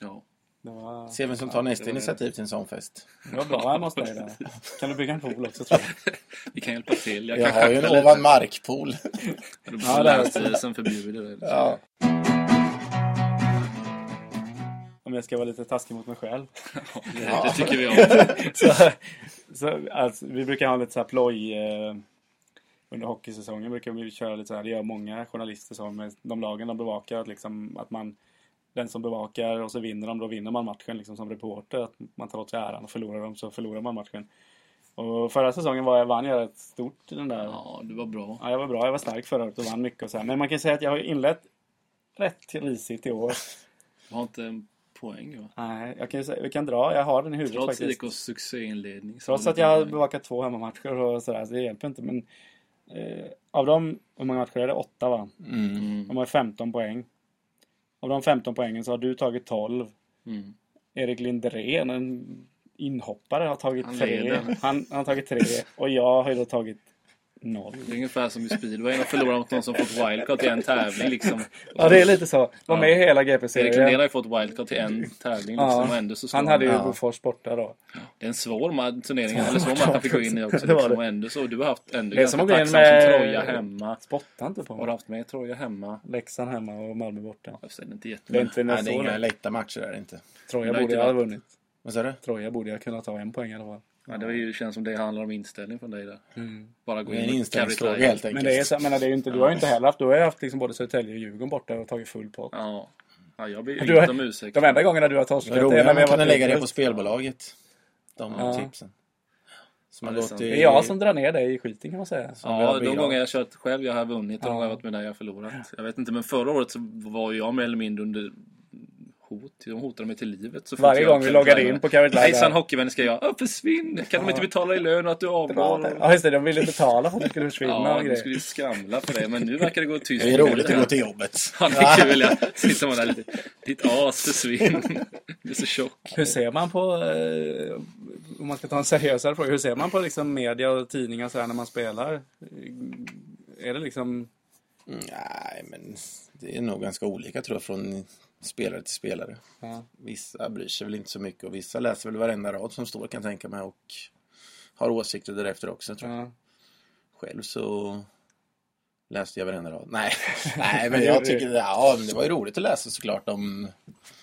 B: ja.
C: Det var,
D: Se vem som tar
B: det
D: nästa
B: var-
D: initiativ till en sån fest.
C: det var bra hemma hos dig där. Kan du bygga en pool också tror jag?
B: Vi kan hjälpa till. Jag,
D: Jag
B: kan
D: har ju en ovan markpool.
B: Ja, Länsstyrelsen förbjuder det.
D: Ja.
C: Om jag ska vara lite taskig mot mig själv.
B: Det, det tycker vi om.
C: Så, så, alltså, vi brukar ha lite så här ploj eh, under hockeysäsongen. Brukar vi köra lite så här, det gör många journalister så med de lagen de bevakar. Att, liksom, att man, den som bevakar och så vinner de, då vinner man matchen liksom, som reporter. Att man tar åt sig äran och förlorar de så förlorar man matchen. Och förra säsongen var jag, vann jag rätt stort i den där
B: Ja, det var bra.
C: Ja, jag var bra. Jag var stark förra året och vann mycket och så här. Men man kan säga att jag har ju inlett rätt risigt i år.
B: Du har inte en poäng va?
C: Nej, jag kan ju säga, vi kan dra. Jag har den i huvudet
B: Trots
C: faktiskt.
B: IKs succéinledning. så
C: Trots
B: har
C: att
B: du
C: jag har
B: inte-
C: bevakat två hemmamatcher och sådär, så det hjälper inte. Men eh, av dem, hur många matcher är det? Åtta va?
D: Mm.
C: De har 15 poäng. Av de 15 poängen så har du tagit 12.
B: Mm.
C: Erik Lindrén, en inhoppare, har tagit
B: Han
C: tre.
B: leder.
C: Han, han har tagit tre och jag har ju då tagit noll.
B: Det är ungefär som i speedway. Man förlorar mot någon som fått wildcard i en tävling liksom.
C: Ja, det är lite så. Var med i hela
B: Erik Lundén
C: GP-serien.
B: har ju fått wildcard till en tävling liksom.
C: Ja.
B: Och ändå så slår
C: Han hade ju
D: Ja.
C: Bofors borta då.
B: Det är en svår ma- turnering. Eller svår match han fick gå in i också.
C: Det var
B: Liksom.
C: det.
B: Och ändå så. Du har haft ändå
C: Det är som
B: ganska
C: att gå in
B: tacksamt
C: med-
B: som Troja hemma.
C: Spotta inte på
B: Har
C: mig.
B: du haft med Troja hemma?
C: Leksand hemma och Malmö borta.
B: Jag säger
C: Det
B: inte
C: är
B: jättemycket.
C: inte
D: Nej,
C: nästa
D: det är
C: år.
D: inga lätta matcher där inte.
C: Troja
B: det har
C: borde
B: inte
C: jag ha
B: varit.
C: vunnit.
D: Vad sa du?
C: Troja borde jag kunna ta en poäng i alla fall.
B: Ja, det var ju, känns som det handlar om inställning från dig där.
C: Mm.
B: Bara gå
D: Det är
B: in
D: en
B: och
D: inställningsfråga
B: carry
D: helt
B: try.
D: enkelt.
C: Men det är, så, jag menar, det är ju inte, du har ju inte heller haft, du har ju haft liksom både Södertälje och Djurgården borta och tagit full pott.
B: Ja. ja, jag ber
C: Du
B: ju
C: har,
B: inte om ursäkt.
C: de enda gångerna du har torskat
D: Vad roligt om man kunde lägga det
C: ute.
D: på spelbolaget. De
C: Ja.
D: tipsen. Som
B: Ja,
D: har
B: det är
D: gått
B: sant.
D: i...
C: Det är jag som drar ner dig i skiten kan man säga.
D: som vi har
B: Ja, de
D: bidrag.
B: gånger jag har kört själv jag har vunnit och de
C: Ja.
B: gånger jag har varit med dig jag har förlorat. Jag vet inte, men förra året så var jag mer eller mindre under hot. De hotade mig till livet. Så fort
C: Varje
B: jag
C: gång vi
B: kunde
C: loggade
B: träna.
C: in på Carrot Live.
B: Hejsan
C: där.
B: hockeyvänner ska jag. Ja, försvinn! Kan de inte betala i lön och att du avgår?
C: Ja just det, de ville betala för att du skulle försvinna
B: Ja,
C: och
B: de
C: grejer.
B: skulle ju skramla för det. Men nu verkar det gå tyst.
D: Det är roligt att gå till jobbet.
B: Ja, det är kul. Ja. Sitter man där lite. Ditt as, försvinn. Du är så tjock.
C: Hur ser man på, eh, om man ska ta en seriösare fråga, hur ser man på liksom media och tidningar så här när man spelar? Eh, Är det liksom,
D: Nej, men det är nog ganska olika tror jag från spelare till spelare.
C: ja,
D: Vissa bryr sig väl inte så mycket och vissa läser väl varenda rad som står kan jag tänka mig och har åsikter därefter också tror jag.
C: ja.
D: Själv så läste jag varenda rad. Nej, Nej men jag tycker ja, men det var ju roligt att läsa såklart om,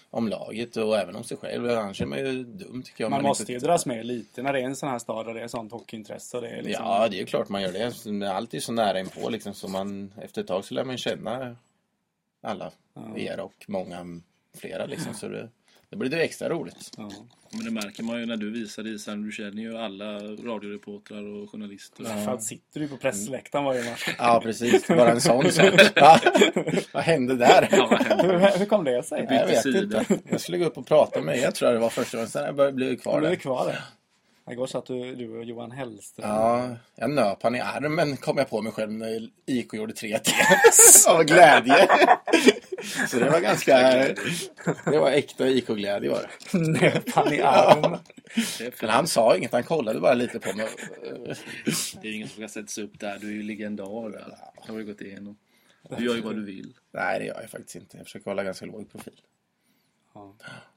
D: om laget och även om sig själv. Annars är man ju dum tycker jag. om
C: Man måste
D: inte-
C: ju dras med lite när det är en sån här stad och det är sånt hockeyintresse. och Det är liksom,
D: Ja, det är ju klart man gör det. Men Allt är ju så nära inpå liksom så man efter ett tag så lär man ju känna alla er och många flera liksom. Så det, det blir ju extra roligt.
C: ja.
B: Men det märker man ju när du visar isen. Du känner ju alla radioreportrar och journalister.
C: Fan, sitter
D: Mm.
C: du på pressläktaren varje match?
D: Ja, precis. Bara en sån sak. Va? Vad hände där?
B: Ja, vad händer?
C: Hur, hur kom det sig?
D: jag vet
B: sida.
D: inte. Jag skulle gå upp och prata med er tror jag det var första gången. Sen har jag bara blivit kvar
C: Du är
D: där.
C: kvar där. Igår satt du, du och Johan Hellström.
D: Ja, jag nöp han i armen kom jag på mig själv när IK gjorde 3-3. Av glädje. Så det var ganska... Det var äkta IK-glädje var det.
C: Nöp han i armen.
B: Det är för-
D: Men han sa inget, han kollade bara lite på mig.
B: Det är ingen som kan sätta sig upp där. Du är ju legendar där. Det har vi gått igenom. Du gör ju vad du vill.
D: Nej, det gör jag faktiskt inte. Jag försöker hålla ganska låg profil.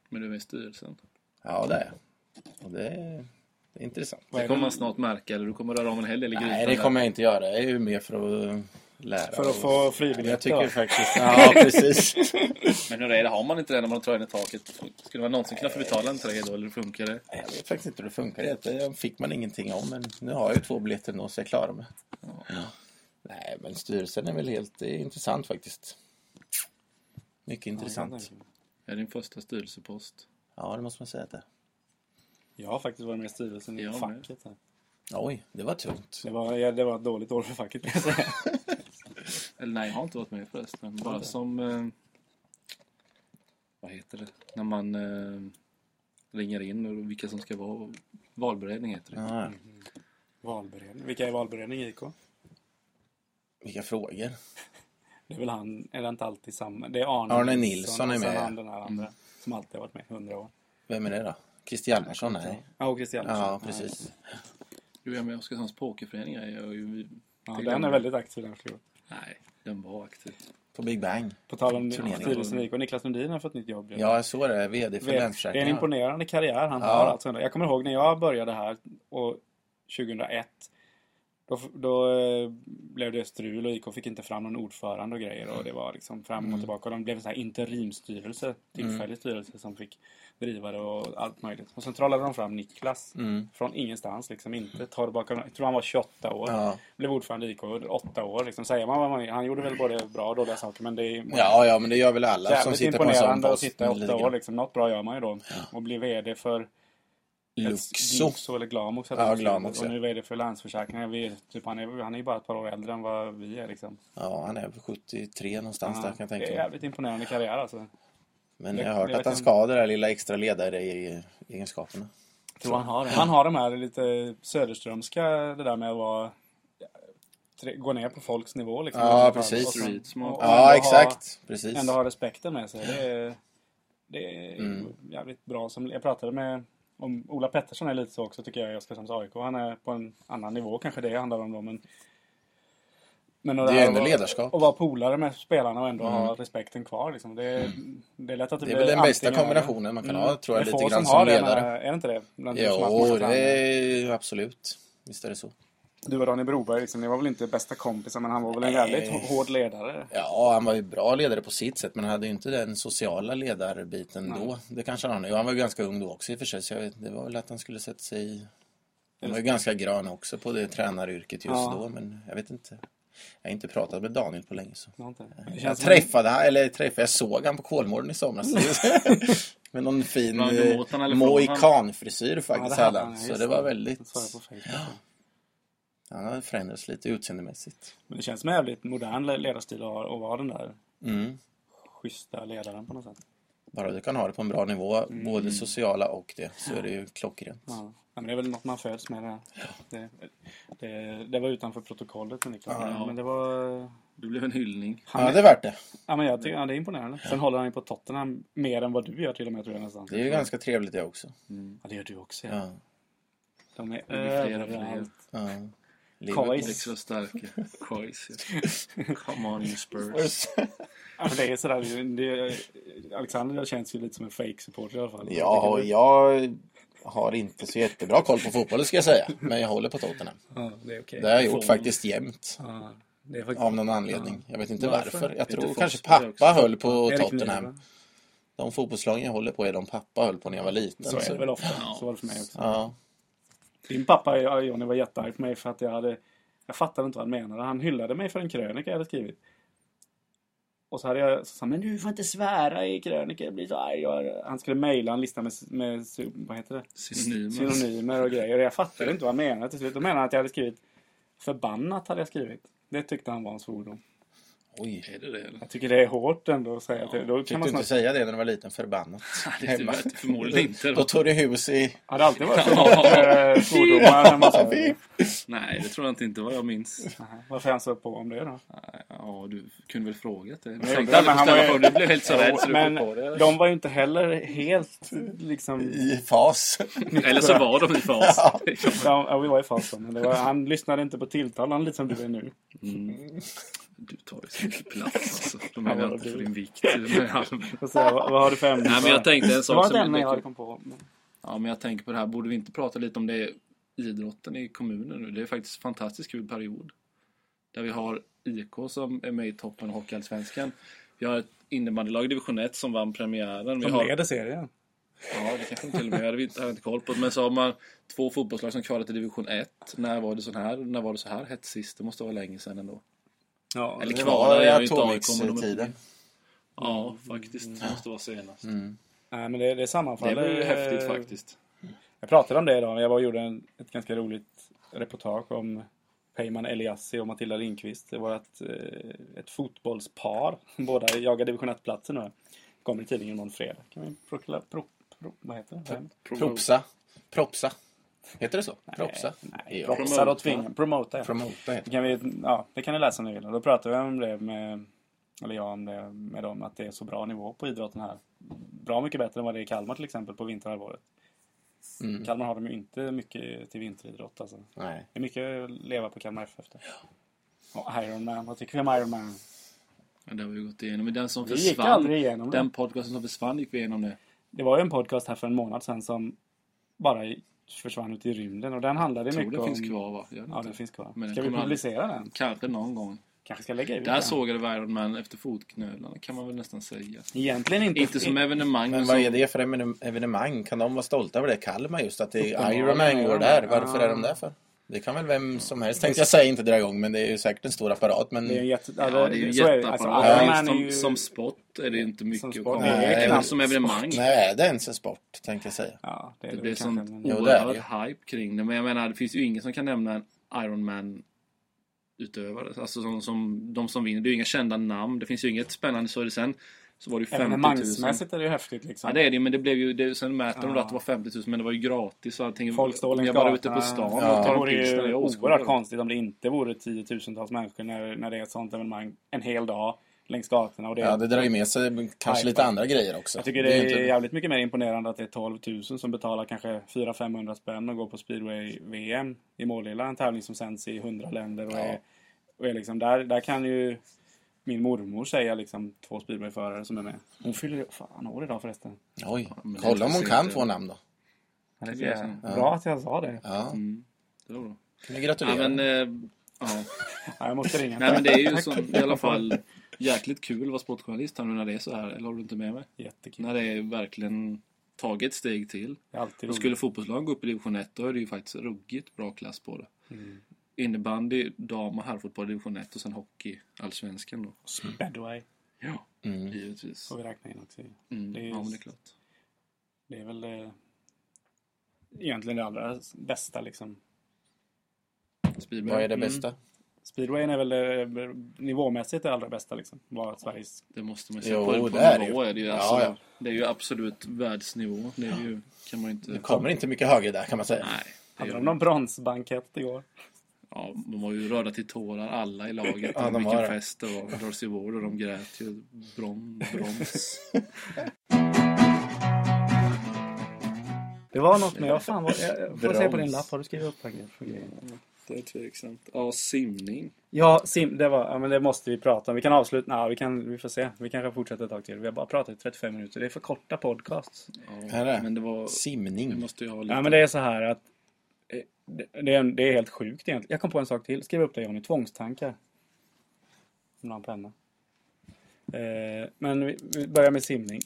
B: Men du är med i styrelsen.
D: Ja, det är jag. Och det är, det är intressant.
B: Det kommer man snart märka. Eller du kommer röra om en hel del i grytan.
D: Nej, det kommer jag inte göra. Jag är ju med för att lära.
C: För
D: och-
C: att få
D: Jag
C: fribiljett.
D: tycker
C: då.
D: faktiskt... Ja, precis.
B: Men hur är det? Har man inte det när man tröjan i taket? Skulle man någonsin kunna få betala en tröja då? Eller funkar det?
D: Nej, Jag vet faktiskt inte hur det funkar. Det fick man ingenting om, men nu har jag ju två biljetter ändå, så jag klarar mig. Ja. Nej, men styrelsen är väl helt det är intressant faktiskt. Mycket intressant.
B: Är din första styrelsepost?
D: Ja, det måste man säga att det är.
C: Jag har faktiskt varit med i styrelsen i
B: Jag med.
C: facket. Här.
D: Oj, det var tungt.
C: Det, var, ja, det var ett dåligt år för facket kan jag säga.
B: Eller nej, jag har inte varit med förresten. Bara som... Eh, vad heter det? När man eh, ringer in och vilka som ska vara... Valberedning heter det.
D: Ja,
C: Valberedning. Vilka är valberedning i IK?
D: vilka frågor.
C: Det är väl han, är det inte alltid samma? Det är Arne,
D: Arne Nilsson är
C: och sen
D: med. Mm.
C: han den här andra. Som alltid har varit med i hundra år.
D: Vem är det då? Christer Hjalmarsson? Nej.
C: Ja, och Christian
D: Ja, precis.
B: Du är med i Oskarshamns pokerförening. Jag är ju...
C: Ja, den är väldigt aktiv den förstår jag.
B: Nej, den var aktiv.
D: På Big Bang.
C: På tal om
D: Turneringen.
C: styrelsen i IK. Niklas Lundin har fått nytt jobb. ju.
D: Ja, jag såg det. VD för
C: Vet- Det är en
D: Länsförsäkringar.
C: imponerande karriär han
D: Ja.
C: har. Alltså. Jag kommer ihåg när jag började här och 2001. Då, f- då eh, blev det strul och IK fick inte fram någon ordförande och grejer. Och det var liksom
D: Mm.
C: fram och tillbaka. Och de blev en sån här interimstyrelse. Tillfällig styrelse som fick driva det och allt möjligt. Och sen trollade de fram Niklas.
D: Mm.
C: Från ingenstans. Liksom inte ta det bakom. Jag tror han var 28 år.
D: Ja.
C: Blev ordförande i IK under 8 år. Liksom. Säger man, vad man, han gjorde väl både bra och dåliga saker. Men det är,
D: Ja, ja, men det gör väl alla som
C: Jävligt
D: sitter på en sån
C: imponerande att
D: post.
C: sitta i
D: Lite
C: åtta år.
D: grann.
C: Liksom. Något bra gör man ju då. Och bli VD för ett
D: Luxo.
C: Luxo eller Glamox.
D: Ja, Glamox,
C: Och
D: ja.
C: nu är VD för Länsförsäkringar. Vi, är- typ, han, är, han är ju bara ett par år äldre än vad vi är. Liksom.
D: Ja, han är väl 73 någonstans där kan jag
C: det
D: tänka
C: är
D: mig.
C: jävligt imponerande karriär alltså.
D: Men
C: Det-
D: jag har
C: det
D: hört
C: vet
D: att han
C: jag
D: ska ha det där lilla extra ledaregenskaperna.
C: Tror han har det. Han har de här lite söderströmska, det där med att vara tre- gå ner på folks nivå liksom.
D: Ja,
C: Och-
D: precis.
C: och sen-
B: Street smart.
C: och- och ändå
D: Ja,
C: ha-
D: exakt. Precis.
C: ändå har respekten med sig. Det är, det är
D: Mm.
C: jävligt bra. Som, jag pratade med om Ola Pettersson är lite så också tycker jag i Oskarshamns AIK. Han är på en annan nivå kanske det handlar om då. Men, men och
D: Det är
C: här
D: ändå
C: att vara-
D: ledarskap. Mm.
C: Att vara polare med spelarna och ändå ha respekten kvar. Liksom. Det, är, det är lätt att det,
D: Det är
C: blir
D: väl den bästa
C: antingen- Mm.
D: kombinationen man kan ha, tror jag,
C: Det är
D: lite
C: få
D: grann
C: som
D: som
C: har det,
D: ledare.
C: men Är det inte det? Bland de som har haft
D: Jo,
C: massa
D: det
C: tränare?
D: är absolut. Visst är det så.
C: Du och Ronny Broberg, liksom, ni var väl inte bästa kompisar men han var väl en
D: Nej.
C: väldigt hård ledare?
D: Ja, han var ju bra ledare på sitt sätt, men han hade ju inte den sociala ledarbiten då. Det kanske han har nu. Han var ju ganska ung då också i och för sig, så jag vet, det var väl att han skulle sätta sig i Den var ju ganska grön också på det tränaryrket just
C: Ja.
D: då, men jag vet inte. Jag har inte pratat med Daniel på länge. Så.
C: Jag har inte- Det
D: Jag
C: känns som-
D: träffade han, eller träffade, jag såg han på Kolmården i somras. med någon fin
B: Sprang du mot han eller från han?
D: mohikanfrisyr
C: Ja, det
D: faktiskt
C: hade
D: hade
C: ja,
D: han. Så
C: just
D: det var väldigt...
C: Det sa jag på Facebook.
D: Han har förändrats lite utseendemässigt.
C: Men det känns som en jävligt modern le- ledarstil att ha- att vara den där
D: Mm.
C: schyssta ledaren på något sätt.
D: Bara du kan ha det på en bra nivå, både sociala och det, så är det ju klockrent.
C: Ja. Ja, men det är väl något man föds med. Det, här. det, det, det var utanför protokollet med Niklas.
B: Ja.
C: Men det var...
B: Det blev en hyllning.
D: Han hade värt det.
C: Ja, men jag tycker ja, det är imponerande. Sen håller han ju på Tottenham mer än vad du gör till och med tror jag nästan.
D: Det är ju ganska trevligt det också.
C: Ja, det gör du också. Ja.
D: Ja.
C: De är
B: blir fler och fler.
C: överallt.
D: ja.
C: Kais.
D: Liverpool.
B: Extra starka. Kois. Come on you Spurs.
D: Spurs.
C: Ja, men det är sådär, det, det, Alexander känns ju lite som en fake supporter i alla fall.
D: Ja, och
C: Jag tycker
D: jag har inte så jättebra koll på fotbollen ska jag säga. Men jag håller på Tottenham.
C: det- Ja, det är okej.
D: Det har jag gjort faktiskt jämt.
C: Ja, det är faktiskt...
D: Av någon anledning. Jag vet inte
C: Varför?
D: varför. Jag
B: Lite
D: tror
B: Fox
D: kanske
B: där också.
D: pappa höll på
C: Erik
D: Tottenham.
C: Niva.
D: De fotbollslagen jag håller på är de pappa höll på när jag var liten.
C: Så är det
D: Så-
C: väl ofta.
B: Ja.
C: Så var det för mig också.
D: Ja.
C: Din pappa, ja, Johnny, var jättearg på mig för att jag hade... Jag fattade inte vad han menade. Han hyllade mig för en krönika jag hade skrivit. Och så hade jag så sa, han, men du får inte svära i krönika, jag blir så arg. Och Han skulle mejla en lista med, med, vad heter det?
B: Synonymer.
C: synonymer och grejer. Jag fattade inte vad han menade till slut. Då menade han att jag hade skrivit förbannat hade jag skrivit. Det tyckte han var en svordom.
D: Oj.
B: Är det det eller?
C: Jag tycker det är hårt ändå att säga. till. Då
D: Fick
C: kan
D: du
C: man
D: inte
C: snart...
D: säga det när du var liten? Förbannat.
B: Det är
D: Hemma.
B: tyvärr förmodligen inte
D: Då
B: då.
D: tog du hus i...
C: Ja, det har alltid varit så mycket svordomar. när man säger-
B: Nej, det tror jag inte, inte vad jag minns.
C: Nej, Varför är han så på om det då?
B: Ja, du kunde väl frågat det. Men
C: Nej,
B: jag
C: men
B: tänkte aldrig
C: han
B: på
C: var
B: ställa
C: ju-
B: frågor. Du blev helt så rädd så du
C: Men
B: kom på det.
C: de var ju inte heller helt liksom...
D: I fas.
B: Eller så var de i fas.
C: Ja, ja, vi var i fas då, men det var, han lyssnade inte på tilltal, han lite som du är nu.
B: Mm. Du tar ju så mycket plats alltså. De är
C: Ja,
B: väl inte
C: du.
B: för din vikt. Men jag-
C: Och Så, vad, vad har du för ämne?
B: Nej, men jag tänkte en
C: Det
B: sak
C: var
B: som...
C: den jag hade
B: Jag,
C: kom på. men-
B: ja, men jag tänker på det här. Borde vi inte prata lite om det idrotten i kommunen nu? Det är faktiskt en fantastiskt kul period. Där vi har IK som är med i toppen av Hockeyallsvenskan. Vi har ett innebandylag i division 1 som vann premiären. Vi
C: Som
B: har...
C: leder serien.
B: Ja, det kanske de till och med. Jag hade inte, hade inte koll på det. Men så har man två fotbollslag som kvalat till division 1. När var det sån här? När var det så här hett sist? Det måste vara länge sedan ändå.
C: Ja,
B: Eller
D: Det
B: kvalade
D: var i
B: jag ju inte AIK. men de-
D: Atomix-tiden.
B: Ja,
D: Mm.
B: faktiskt. Det måste vara senast.
C: Nej, men det, det
B: Det
C: sammanfaller.
B: var ju häftigt
C: eh,
B: faktiskt.
C: Jag pratade om det idag. Jag var och gjorde en, ett ganska roligt reportage om Peyman Eliassi och Matilda Lindqvist. Det var ett, eh, ett fotbollspar. Båda jagar division 1-platser nu. Kommer i tidningen imorgon fredag. Kan vi prokla, pro, pro, vad heter det?
D: Propsa. Propsa. Heter det så? Propsa?
C: Nej,
D: Ja.
C: propsa och tvinga. Promota, ja.
D: Promota heter
C: Det kan, vi, ja, det kan ni läsa om ni vill. Och Då pratade jag om det med, eller jag om det med dem, att det är så bra nivå på idrotten här. Bra mycket bättre än vad det är i Kalmar till exempel på vinterhalvåret.
D: Mm.
C: Kalmar har de ju inte mycket till vinteridrott alltså.
D: det. Nej.
C: Det är mycket att leva på Kalmar FF. då. Och Ironman, vad tycker vi om Ironman?
B: Ja, det har vi gått igenom. Men den som
C: Vi gick
B: försvann.
C: aldrig igenom
B: Den
C: det.
B: podcasten som försvann gick vi igenom nu.
C: Det var ju en podcast här för en månad sedan som bara i- försvann ut i rymden och den handlade
B: Jag tror
C: mycket
B: den
C: om...
B: finns kvar va? Gör den
C: Ja,
B: inte?
C: den finns kvar.
B: Men den
C: Ska vi
B: kommer aldrig-
C: publicera den?
B: Kanske någon gång.
C: Kanske ska lägga ut
B: Där
C: den?
B: sågade vi Iron Man efter fotknölarna kan man väl nästan säga.
C: Egentligen inte.
B: Inte som evenemang.
D: Men
B: men
D: vad
B: som-
D: är det för evene- evenemang? Kan de vara stolta över det? Kalmar just, att det är
C: Uppenbarligen
D: Ironman
C: är
D: går
C: de
D: där.
C: det.
D: Varför
C: Ja.
D: är de där för? Det kan väl vem som helst, tänkte jag säga, inte dra igång. Men det är ju säkert en stor apparat. Men
C: Det är en jätte...
B: Ja, det är ju jätteapparat.
D: Alltså,
C: Ironman är
B: som,
C: ju...
B: som sport är det inte mycket
C: Som
B: att
C: sport.
B: komma
C: Nej,
B: med.
D: det är
B: Även
D: knappt
B: som evenemang.
D: nej, är det ens en sport, tänkte jag säga.
C: Ja, det, är
B: Det
C: väl
B: blir
C: kanske
B: sånt
C: en-
D: Jo, det är
B: oerhörd hype kring det. Men jag menar, det finns ju ingen som kan nämna en Iron Man utövare. Alltså som, som, de som vinner. Det är ju inga kända namn. Det finns ju inget spännande. Så är det sen så var det ju 50 000.
C: Evenemangsmässigt är det ju häftigt liksom.
B: Ja det är det ju, men det blev ju, det, sen mäter de
C: Ja.
B: att det var 50 000 men det var ju gratis och allting.
C: Folk står längs
B: Jag bara ute på
C: gatorna.
B: stan
D: Ja.
B: och
C: Det
B: tar en
C: vore
B: pils när
C: ju
B: jag
C: oerhört
B: åskådare.
C: konstigt om det inte vore tiotusentals människor när, när det är ett sånt evenemang en hel dag längs gatorna. Och det,
D: Ja, det drar ju med sig kanske lite andra grejer också.
C: jag tycker det är,
D: ju inte-
C: jävligt mycket mer imponerande att det är 12 000 som betalar kanske 400-500 spänn och går på speedway-VM i Målilla. En tävling som sänds i 100 länder. Och
D: Ja.
C: är, och är liksom, där, där kan ju min mormor säga liksom två speedwayförare som är med. Hon fyller fan år idag förresten.
D: Oj,
B: men det
D: kolla om hon
B: finns
D: kan
B: inte.
D: två namn då.
C: Det
B: tycker jag är så.
C: Bra att jag sa det.
D: Ja,
B: Mm. Det var bra.
D: kan vi
B: Ja,
D: gratulera.
B: men, eh, ja.
C: Ja, jag måste ringa.
B: Nej men det är ju som, i alla fall jäkligt kul att vara sportjournalist här nu när det är så här. Eller håller du inte med mig?
C: Jättekul.
B: När det är verkligen tagit ett steg till.
C: Det är alltid
B: Och
C: roligt.
B: skulle fotbollslag gå upp i division 1 då är det ju faktiskt ruggigt bra klass på det.
C: Mm.
B: Innebandy, dam och herrfotboll i division 1 och sen hockey, allsvenskan då.
C: Bedway
B: Ja,
D: Mm.
B: givetvis.
C: får vi räkna in också.
B: Mm.
C: Det är-
B: Ja, men det är klart.
C: Det är väl eh, egentligen det allra bästa liksom.
B: Speedway.
D: Vad är det
B: Mm,
D: bästa?
C: Speedwayen är väl eh, nivåmässigt det allra bästa liksom. Vad Sveriges...
B: det måste man ju
D: Jo,
B: säga. På, på
D: det är det
B: nivå
D: ju.
B: är det ju.
D: Ja,
B: Alltså,
D: ja.
B: Det är ju absolut världsnivå. Det är ju, kan man ju inte...
D: Det kommer inte mycket högre där kan man säga.
B: Nej. det är
C: Hade
B: ju-
C: de någon bronsbankett igår?
B: Ja, de var ju rörda till tårar alla i laget.
D: Ja, de
B: Vilken
D: var det.
B: fest det var. Dorsey Ward och de grät ju brom, broms.
C: Det var något med... Vad fan var jag, jag får se på din
D: Brons.
C: lapp. Har du skrivit upp paket för grejer?
B: Det är tveksamt. Ja, simning.
C: Ja, sim, det var... Ja, men det måste vi prata om. Vi kan avsluta... Nej, vi, kan, vi får se. Vi kanske fortsätter ett tag till. Vi har bara pratat i 35 minuter. Det är för korta podcasts.
D: Här är det.
B: men det var... Vi
D: Simning.
B: måste ju ha lite...
C: Ja, men det är så här att... eh, Det, det, är, en- det är helt sjukt egentligen. Jag kom på en sak till. Skriv upp det Johnny. Tvångstankar. Om du har en penna. Eh, men vi, vi börjar med simning.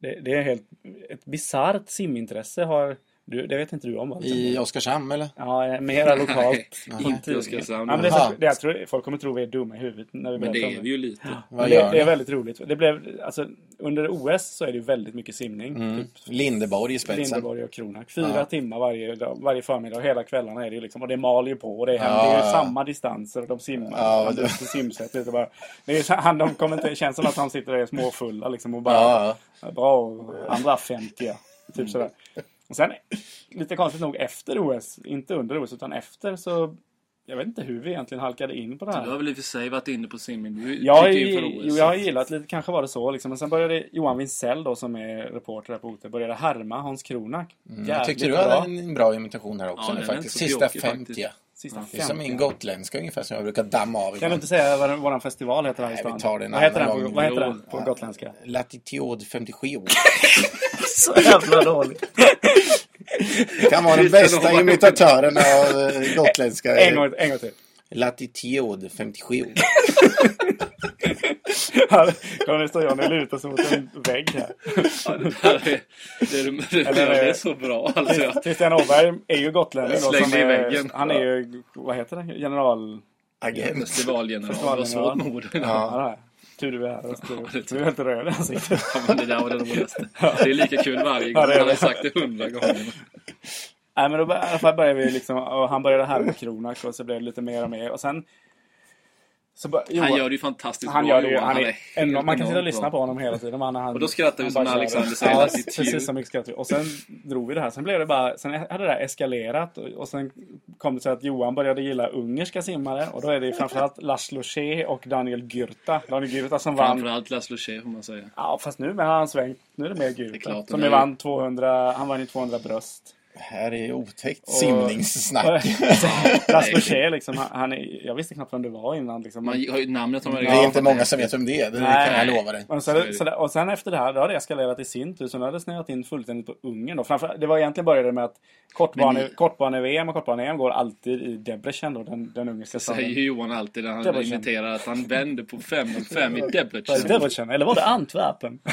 C: Det, det är helt... Ett bisarrt simintresse har... Du, det vet inte du om va?
D: I Oskarshamn eller?
C: Ja, eh, mera lokalt.
B: Nej, inte i Oskarshamn.
C: Ja, men det är så,
D: Aha.
C: det, jag tror, folk kommer tro vi är dumma i huvudet när vi
B: Men det
C: berättar om
B: är vi ju lite.
D: Vad
C: Men det,
D: gör
C: det är
D: ni?
C: väldigt roligt. Det blev, alltså, under OS så är det ju väldigt mycket simning.
D: Mm.
C: Typ
D: Lindeborg i spetsen.
C: Lindeborg och Kronak. Fyra
D: Ja.
C: timmar varje, dag, varje förmiddag och hela kvällarna är det ju liksom. Och det mal ju på och det händer
D: Ja,
C: ju
D: ja.
C: samma distanser och de simmar.
D: Ja,
C: han
D: det-
C: det... simsätt ut och bara... Det är ju så, han, de kommer inte, det känns som att han sitter där och är småfulla liksom och bara...
D: Ja,
C: Bra och andra 50 Typ sådär. Och sen, lite konstigt nog efter OS, inte under OS utan efter så... Jag vet inte hur vi egentligen halkade in på det här.
B: Du har väl i och för sig varit inne på simning? Du
C: Jag, har
B: gick
C: ju-
B: in för
C: jo,
B: OS.
C: jag har gillat lite, kanske var det så liksom. Men sen började Johan Wintzell då som är reporter här på OT, började härma Hans Kronak.
D: Mm. Jag tyckte du hade en en bra imitation här också.
B: Ja,
D: nu,
B: den är
D: faktiskt.
B: inte så
D: Sista
B: pjåkig,
D: 50.
B: faktiskt.
C: Sista
D: Det är Mm. som min
C: 50.
D: gotländska ungefär som jag brukar damma av.
C: Kan du inte säga vad den- våran festival heter här i
D: Nej,
C: stan?
D: vi tar det en
C: vad heter den
D: annan
C: på,
D: gång.
C: vad heter
B: Jo.
C: den på gotländska?
D: Latitud 57.
C: Så jävla dåligt.
D: Det kan vara den
B: Christian
D: bästa
B: Holm.
D: imitatören av eh, gotländska.
C: En gång, en gång till.
D: Latitud 57.
C: Kommer det stå Johnny och luta sig mot en vägg här.
B: Ja, det, här är, det, är, det, är,
C: Eller-
B: det är så bra alltså. Jag,
C: Christian Åberg är ju gotlänning då.
B: Släng
C: som
B: dig i
C: är-
B: väggen.
C: Han är ju, vad heter det? General...
D: Agent.
B: festivalgeneral. Det var svårt med orden.
C: Ja.
D: Ja.
C: det är. Tur du är här. och
B: Ja, det
C: styr.
B: är tur.
C: Du är helt röd i ansiktet.
B: Ja, men det där var det roligaste. Det är lika kul varje gång.
C: Ja, det är
B: Han har
C: det.
B: sagt det hundra gånger.
C: Nej men då bör, i alla fall började vi liksom, och han började här med Kronak och så blev det lite mer och mer och sen... Så bör, Johan-
B: Han gör det ju fantastiskt
C: han
B: bra
C: gör det ju,
B: Johan.
C: han är
B: helt
C: enorm, man kan sitta och
B: enormt
C: lyssna
B: bra.
C: på honom hela tiden. Han, han,
B: Och då skrattar vi
C: han bara
B: som när
C: kör.
B: Alexander säger
C: ja,
B: att det är tjur.
C: precis så mycket skrattar vi. Och sen drog vi det här. Sen blev det bara, sen hade det här eskalerat och, och sen kom det så att Johan började gilla ungerska simmare och då är det ju framförallt Laszlo Che och Daniel Gürta. Daniel Gürta som vann
B: Framförallt Laszlo Che får man säga.
C: Ja, fast nu men han har svängt. Nu är det mer
B: Det är
C: gult.
B: klart,
C: som
B: men
C: ju
B: det är-
C: vann 200, han vann ju 200 bröst.
D: Här är otäckt simningssnack.
C: Laszlo Che liksom, han- han är, jag visste knappt vem det var innan liksom.
B: Man har ju namnet om man
D: Det är inte många som vet vem det är. Det
C: Nej.
D: kan jag lova dig.
C: och,
B: så är det.
C: sen, så där, och sen efter det här, då har det eskalerat i sin tur. Så nu har det snöat in fullständigt på Ungern. Då. Framför, det var egentligen började med att kortbane,
B: Men ni-
C: kortbane-VM och kortbane-EM går alltid i Debrecen, då, den, den ungerska
B: Säger
C: staden.
B: ju Johan alltid när han
C: Debrecen.
B: imiterar att han vänder på fem och fem i
C: Var det
B: Debrecen.
C: Debrecen, eller var det Antwerpen?
B: Ja,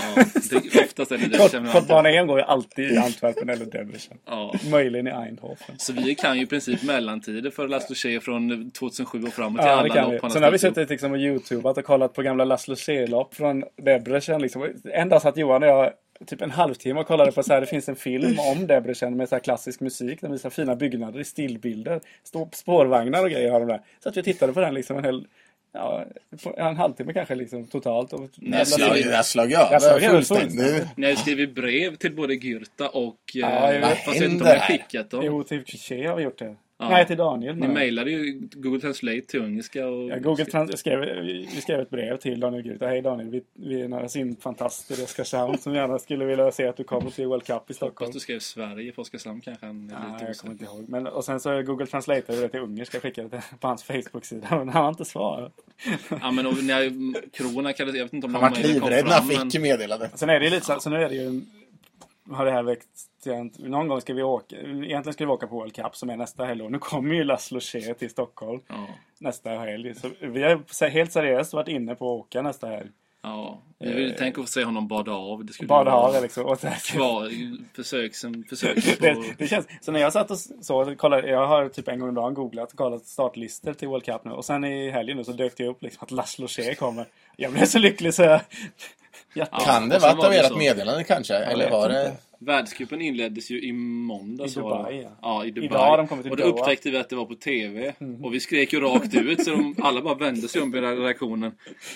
B: det, oftast är det
C: Kort,
B: Debrecen. men alltid-
C: kortbane-EM går ju alltid i Antwerpen eller Debrecen.
B: Ja.
C: Möjligen i Eindhoven.
B: Så vi kan ju i princip mellantider för Laszlo Che från 2007 och framåt till
C: Ja, det
B: alla
C: kan
B: lopp
C: vi.
B: han
C: Så nu har vi
B: ställt upp.
C: suttit liksom och youtubat och kollat på gamla Laszlo Che-lopp från Debrecen. Liksom. En dag satt Johan och jag typ en halvtimme och kollade på så här, det finns en film om Debrecen med så här klassisk musik. Den visar fina byggnader i stillbilder. Stå spårvagnar och grejer har de där. Så att vi tittade på den liksom en hel, ja, på en halvtimme kanske liksom totalt. Och
D: Jag slog, jag slog
C: Jag slog
D: över
C: över
D: fullständigt.
B: Ni har ju skrivit brev till både Gyrta och... eh,
C: Ja, jag vet.
B: fast jag vet inte om
D: Vad
B: ni
D: händer
B: har
D: här?
B: skickat dem.
C: Jo, till Che har vi gjort det.
B: Ja.
C: Nej, till Daniel.
B: Ni
C: menar jag.
B: mejlade ju Google Translate till ungerska och...
C: Ja, Google Trans- skrev, vi vi skrev ett brev till Daniel Gryta. Hej Daniel, vi, vi är några simfantaster i Oskarshamn som gärna skulle vilja se att du kommer till World Cup i Stockholm.
B: Fast du skrev Sverige på Oskarshamn kanske han är
C: Nej,
B: lite
C: jag kommer inte
B: osäker.
C: ihåg. Men, och sen så Google Translate det till ungerska skickade det på hans Facebook-sida. Men han har inte svarat.
B: Ja men och, när Krona kallade... Jag vet inte om
D: Han
B: de
D: vart
B: mejlen
D: livrädd när
B: fram,
D: han
B: men-
D: fick meddelandet.
C: Sen är det ju lite så, så nu är det ju en, har det här väckt till en- någon gång ska vi åka, egentligen ska vi åka på World Cup som är nästa helg och nu kommer ju Laszlo Che till Stockholm
B: Ja.
C: nästa helg. Så vi har helt seriöst varit inne på att åka nästa helg.
B: Ja, vi vill
C: Eh.
B: tänka oss se honom bada av. Det skulle
C: Bara
B: vara
C: ha det liksom. Och så här,
B: Kvar, försök som försök på...
C: det, det känns, så när jag satt och s- så, och kollade, jag har typ en gång om dagen googlat och kollat startlistor till World Cup nu. Och sen i helgen nu så dök det upp liksom att Laszlo Che kommer. Jag blev så lycklig så jag...
B: Ja,
D: Kan det
B: och sen
D: varit av
B: det
D: ert
B: så.
D: meddelande kanske? Eller
C: vet
D: var
C: inte.
D: det...
B: Världscupen inleddes ju i måndags.
C: I
B: var det.
C: Dubai, ja.
B: ja. i Dubai.
C: Idag har de kommit till
B: och då
C: Doha. Mhm.
B: upptäckte vi att det var på TV. Och vi skrek ju rakt ut så de, alla bara vände sig om i redaktionen.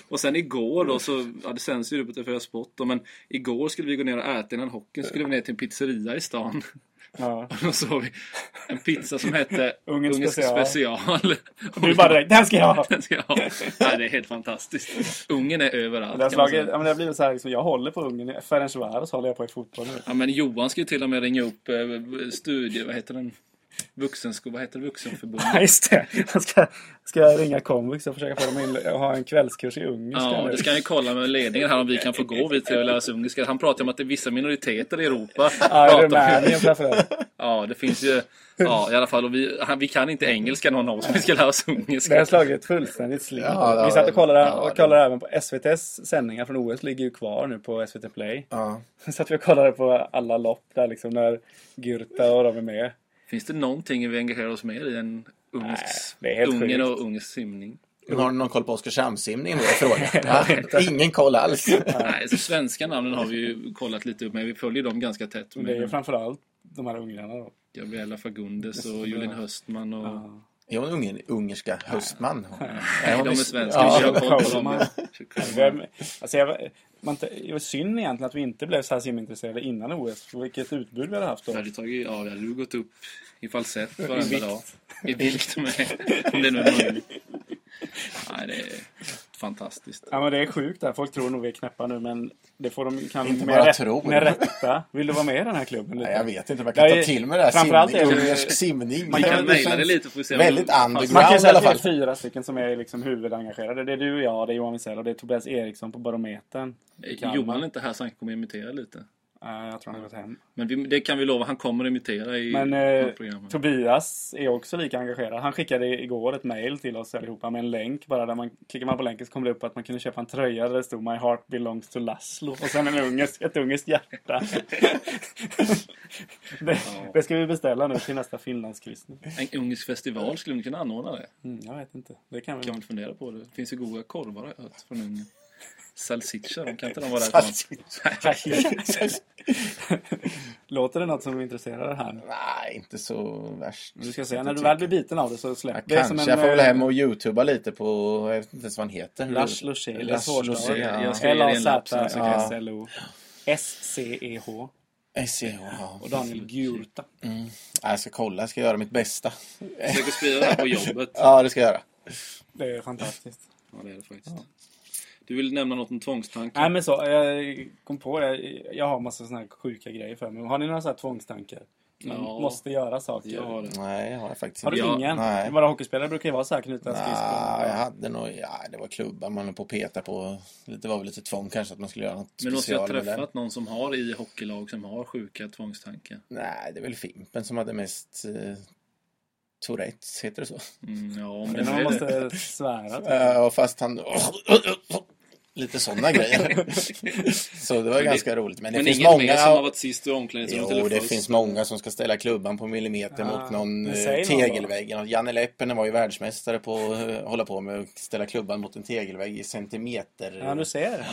B: Och sen igår då så, ja det sänds ju det på TV4 Sport då, men igår skulle vi gå ner och äta innan hockeyn, skulle vi ner till en pizzeria i stan.
C: Ja.
B: Och då såg vi en pizza som hette
C: Ungerns
B: Ungersk
C: special.
B: special.
C: Du bara direkt, den ska jag ha!
B: Den ska jag ha. Nej, det är helt fantastiskt. Ungen är överallt.
C: Det har,
B: kan man
C: slagit,
B: säga.
C: ja, men det har blivit så här, liksom, jag håller på Ungern. Ferencvaros håller jag på i fotboll nu.
B: Ja, men Johan ska ju till och med ringa upp eh, studie... Vad heter den? Vuxensko... Vad heter det? Vuxenförbundet?
C: Ja, just det. Jag ska, ska jag ringa komvux och försöka få dem in, ha en kvällskurs i Ungern. ska jag
B: Ja,
C: nu.
B: det ska han ju kolla med ledningen här om vi kan få gå vi till att lära oss ungerska. Han pratar ju om att det är vissa minoriteter i Europa.
C: Ja, i
B: pratar vi.
C: Rumänien framförallt.
B: ja, det finns ju... Ja, i alla fall. Och vi, han, vi kan inte engelska någon av oss, vi ska lära oss
C: Det har
B: ungerska.
C: slagit ett fullständigt sling.
D: Ja, det
C: Vi satt och kollade,
D: har det.
C: och kollade även på SVTs sändningar från OS ligger ju kvar nu på SVT Play.
D: Ja.
C: Så satt vi och kollade på alla lopp där liksom när Gurta och de är med.
B: Finns det någonting vi engagerar oss mer i än ungersk...
C: Nej, det är helt
B: Ungern
C: sjukt.
B: och ungersk simning?
D: Men Har du någon koll på Oskarshamnssimningen? Det är frågan. Va? Ingen koll alls.
B: Nej, så svenska namnen har vi ju kollat lite upp med. Vi följer dem ganska tätt.
C: Det är
D: Mm.
C: ju
B: Med
C: framförallt de här ungrarna då.
B: Gabriella Fagundes och Julin Höstman och...
D: Är hon unger, ungerska höstman?
B: Nej,
D: hon
B: de är svenska.
D: Ja.
B: Vi kör koll på
C: Schaumann.
B: dem.
C: Vem, alltså jag, man, det var synd egentligen att vi inte blev så här simintresserade innan OS. för Vilket utbud vi hade haft då.
B: Vi hade tagit, ja, vi hade ju gått upp i falsett varenda dag. I vikt med. Om det nu är möjligt. Nej, det är fantastiskt.
C: Ja men det är sjukt där. Folk tror nog vi är knäppa nu men det får de kan
D: Inte
C: med,
D: bara
C: rätt,
D: tror.
C: med rätta. Vill du vara med i den här klubben?
D: Nej,
C: lite?
D: jag vet inte om jag kan
C: Jag
D: ta
C: är-
D: till mig det här.
C: framförallt
D: Simning,
C: är det-
D: ungersk simning.
B: Man kan
D: Det
B: mejla
D: känns
B: det lite får vi se.
D: Väldigt
C: Man kan ju
D: underground i
C: säga
D: alla
C: att vi är
D: fall.
C: fyra stycken som är liksom huvudengagerade. Det är du och jag, det är Johan Wiesel och det är Tobias Eriksson på Barometern. i Kalmar.
B: Eh, Johan är inte här så han kommer imitera lite.
C: Nej, jag tror han har gått hem.
B: Men vi, det kan vi lova, han kommer imitera i
C: Men eh,
B: programmet.
C: Tobias är också lika engagerad. Han skickade igår ett mail till oss allihopa med en länk. Bara där man, klickar man på länken så kommer det upp att man kunde köpa en tröja där det stod My heart belongs to Laszlo. Och sen en ungersk, ett ungerskt hjärta. det, det ska vi beställa nu till nästa Finlandskryssning.
B: En ungersk festival skulle vi kunna anordna det.
C: Mm, jag vet inte. Det kan vi
B: Kan man inte fundera på det. Det finns ju goda korvar har jag hört från Ungern. Salsiccia, de kan inte de vara därifrån?
C: Låter det något som intresserar dig här?
D: Nej, inte så värst.
C: Du ska se, när du väl blir biten av det så släpp.
D: Jag
C: det är
D: kanske.
C: som en,
D: jag får väl
C: eh,
D: hem och youtuba lite på... Jag vet inte ens vad han heter.
C: Lars Luché.
D: Lars Luché,
B: Jag
C: eh,
D: ja.
B: ska ge dig en lapp sen så kan jag-
C: L-A-Z-S-L-O. S-C-E-H.
D: SEO, E ja.
C: E Och Daniel Gurta.
D: Nej, Jag ska kolla, jag ska göra mitt bästa.
B: Försöker sprida det här på jobbet.
D: Ja, det ska jag göra.
C: Det är fantastiskt.
B: Ja, det är det faktiskt. Du vill nämna något om tvångstankar?
C: Nej men så, jag kom på det. Jag har massa såna här sjuka grejer för mig. Har ni några såna här tvångstankar? Man
B: Ja.
C: måste göra saker.
B: Jag har det.
D: Nej, jag har jag faktiskt
C: Har du
B: Ja,
C: ingen?
D: nej.
C: Våra hockeyspelare brukar ju vara så här knutna
D: Nej, jag
C: skridskor.
D: hade nog... Ja, det var klubbar man höll på att peta på. Det var väl lite tvång kanske att man skulle göra något
B: Men måste jag
D: special med den.
B: träffat någon som har i hockeylag som har sjuka tvångstankar?
D: Nej, det är väl Fimpen som hade mest eh, Tourettes, heter det så?
B: Mm, ja, om det
C: Men
B: nu
C: man
B: är det.
C: måste svära. typ.
D: Eh, och fast han... lite sådana grejer. så det var ganska roligt. Men det
B: Men
D: finns
B: ingen mer som har
D: många...
B: varit sist i omklädningsrummet
D: Jo, det
B: först?
D: finns många som ska ställa klubban på millimeter mot någon
C: Ah, men
D: eh,
C: säg någon då.
D: tegelvägg. Och Janne Leppinen var ju världsmästare på att eh, hålla på med att ställa klubban mot en tegelvägg i centimeter.
C: Ja, du ser.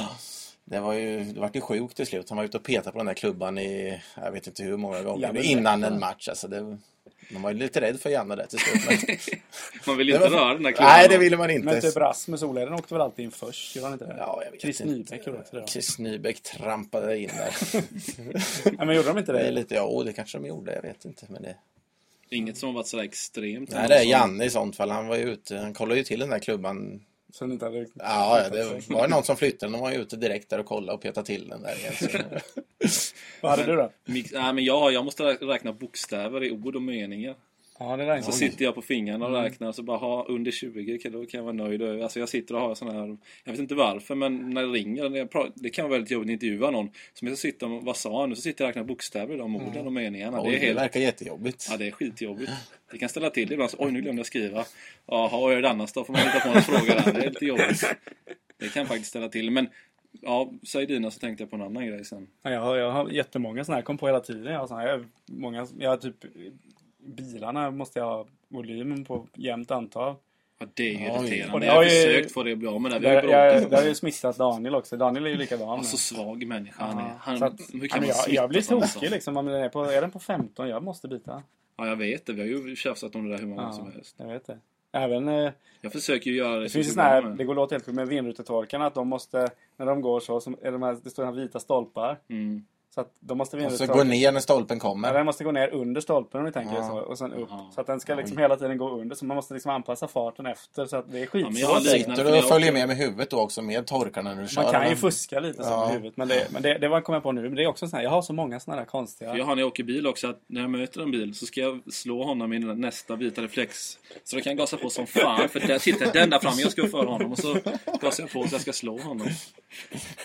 D: Det var ju, det vart ju sjukt till slut. Han var ute och petade på den där klubban i, jag vet inte hur många gånger,
C: Ja, men-
D: innan en match. Alltså det, man var ju lite rädd för Janne där till slut. Men,
B: Man vill inte
D: Det var-
B: röra den där klubban.
D: nej, det ville man inte.
C: Men typ Rasmus Oleden åkte väl alltid in först? Gjorde han inte det?
D: Ja, jag vet
C: Chris
D: inte.
C: Nybeck gjorde också det. va?
D: Chris Nybeck trampade in där.
C: Nej, men gjorde de inte
D: det är
C: det?
D: lite, ja, åh, det kanske de gjorde, jag vet inte. Men det,
B: Inget som har varit sådär extremt.
D: nej, det är Janne i sånt fall. Han var ju ute, han kollade ju till den där klubban.
C: Så ni inte hade...
D: Ja, ja, det var ju någon som flyttade den. De var ju ute direkt där och kollade och petade till den där Alltså, igen. Så-
C: Vad hade du då?
B: Mix, nej, men jag, har- jag måste rä- räkna bokstäver i ord och meningar.
C: Ja, det där är
B: Så sitter jag på fingrarna
D: Mm.
B: och räknar och så bara, ha under 20, kan- då kan jag vara nöjd. Alltså jag sitter och har sådana här, jag vet inte varför, men när det ringer, när jag pratar, det kan vara väldigt jobbigt att intervjua någon. Som jag ska sitta och, vad sa han nu? Så sitter jag och räknar bokstäver i de orden och meningarna.
D: Mm. Oj,
B: det är helt
D: verkar jättejobbigt.
B: Ja, det är skitjobbigt. Det kan ställa till det ibland. Så, Oj, nu glömde jag skriva. Jaha, vad gör det annars då? Får man hitta på någon fråga där. Det är lite jobbigt. Det kan faktiskt ställa till. Men Ja, säg dina så tänkte jag på en annan grej sen.
C: Ja, Jag har, jag har jättemånga sådana här. Jag kom på hela tiden. Jag har, såna här, jag har många, jag har typ bilarna måste jag ha volymen på jämnt antal.
B: Ja, det är ju
D: Oj.
C: Och
B: irriterande.
C: det
B: Jag har
C: har ju-
B: försökt få det att bli av med det. Vi har ju
C: Där, jag,
B: bråkat.
C: där har ju smittat Daniel också. Daniel är ju likadan.
B: Han är så svag människa han är.
C: Ja,
B: Han,
C: så att,
B: hur
C: ja,
B: kan
C: men
B: man
C: jag,
B: smitta
C: jag blir
B: på en
C: tokig
B: sån?
C: liksom. Om den är, på, är den på 15? Jag måste byta.
B: Ja, jag vet det. Vi har ju tjafsat om det där hur många som
C: Ja,
B: helst.
C: jag vet det. Även, eh,
B: Jag försöker ju göra det.
C: det
B: så
C: finns ju
B: bra
C: såna här,
B: med.
C: det går låt helt sjukt, med vindrutetorkarna att de måste, när de går så, så är de här, det står här vita stolpar.
B: Mm.
C: Så att de måste
D: Och så gå
C: vindrutetorka.
D: ner när stolpen
C: Ja,
D: kommer.
C: den måste gå ner under stolpen om ni tänker
D: Ja.
C: så. Och sen upp.
B: Ja.
C: Så att den ska liksom hela tiden gå under. Så man måste liksom anpassa farten efter. Så att det är
B: men
C: skitsvårt.
B: jag har liknande
D: Sitter du och följer med med huvudet då också med torkarna när du kör?
C: man kan ju
D: eller?
C: fuska lite så
D: Ja.
C: med huvudet. Men det, men det, det var kommer jag på nu. Men det är också sån här, jag har så många såna där konstiga.
B: För jag har när jag åker bil också att när jag möter en bil så ska jag slå honom i den nästa vita reflex. Så då kan jag gasa på som fan för där sitter den där framme. Jag ska före honom och så gasar jag på så jag ska slå honom.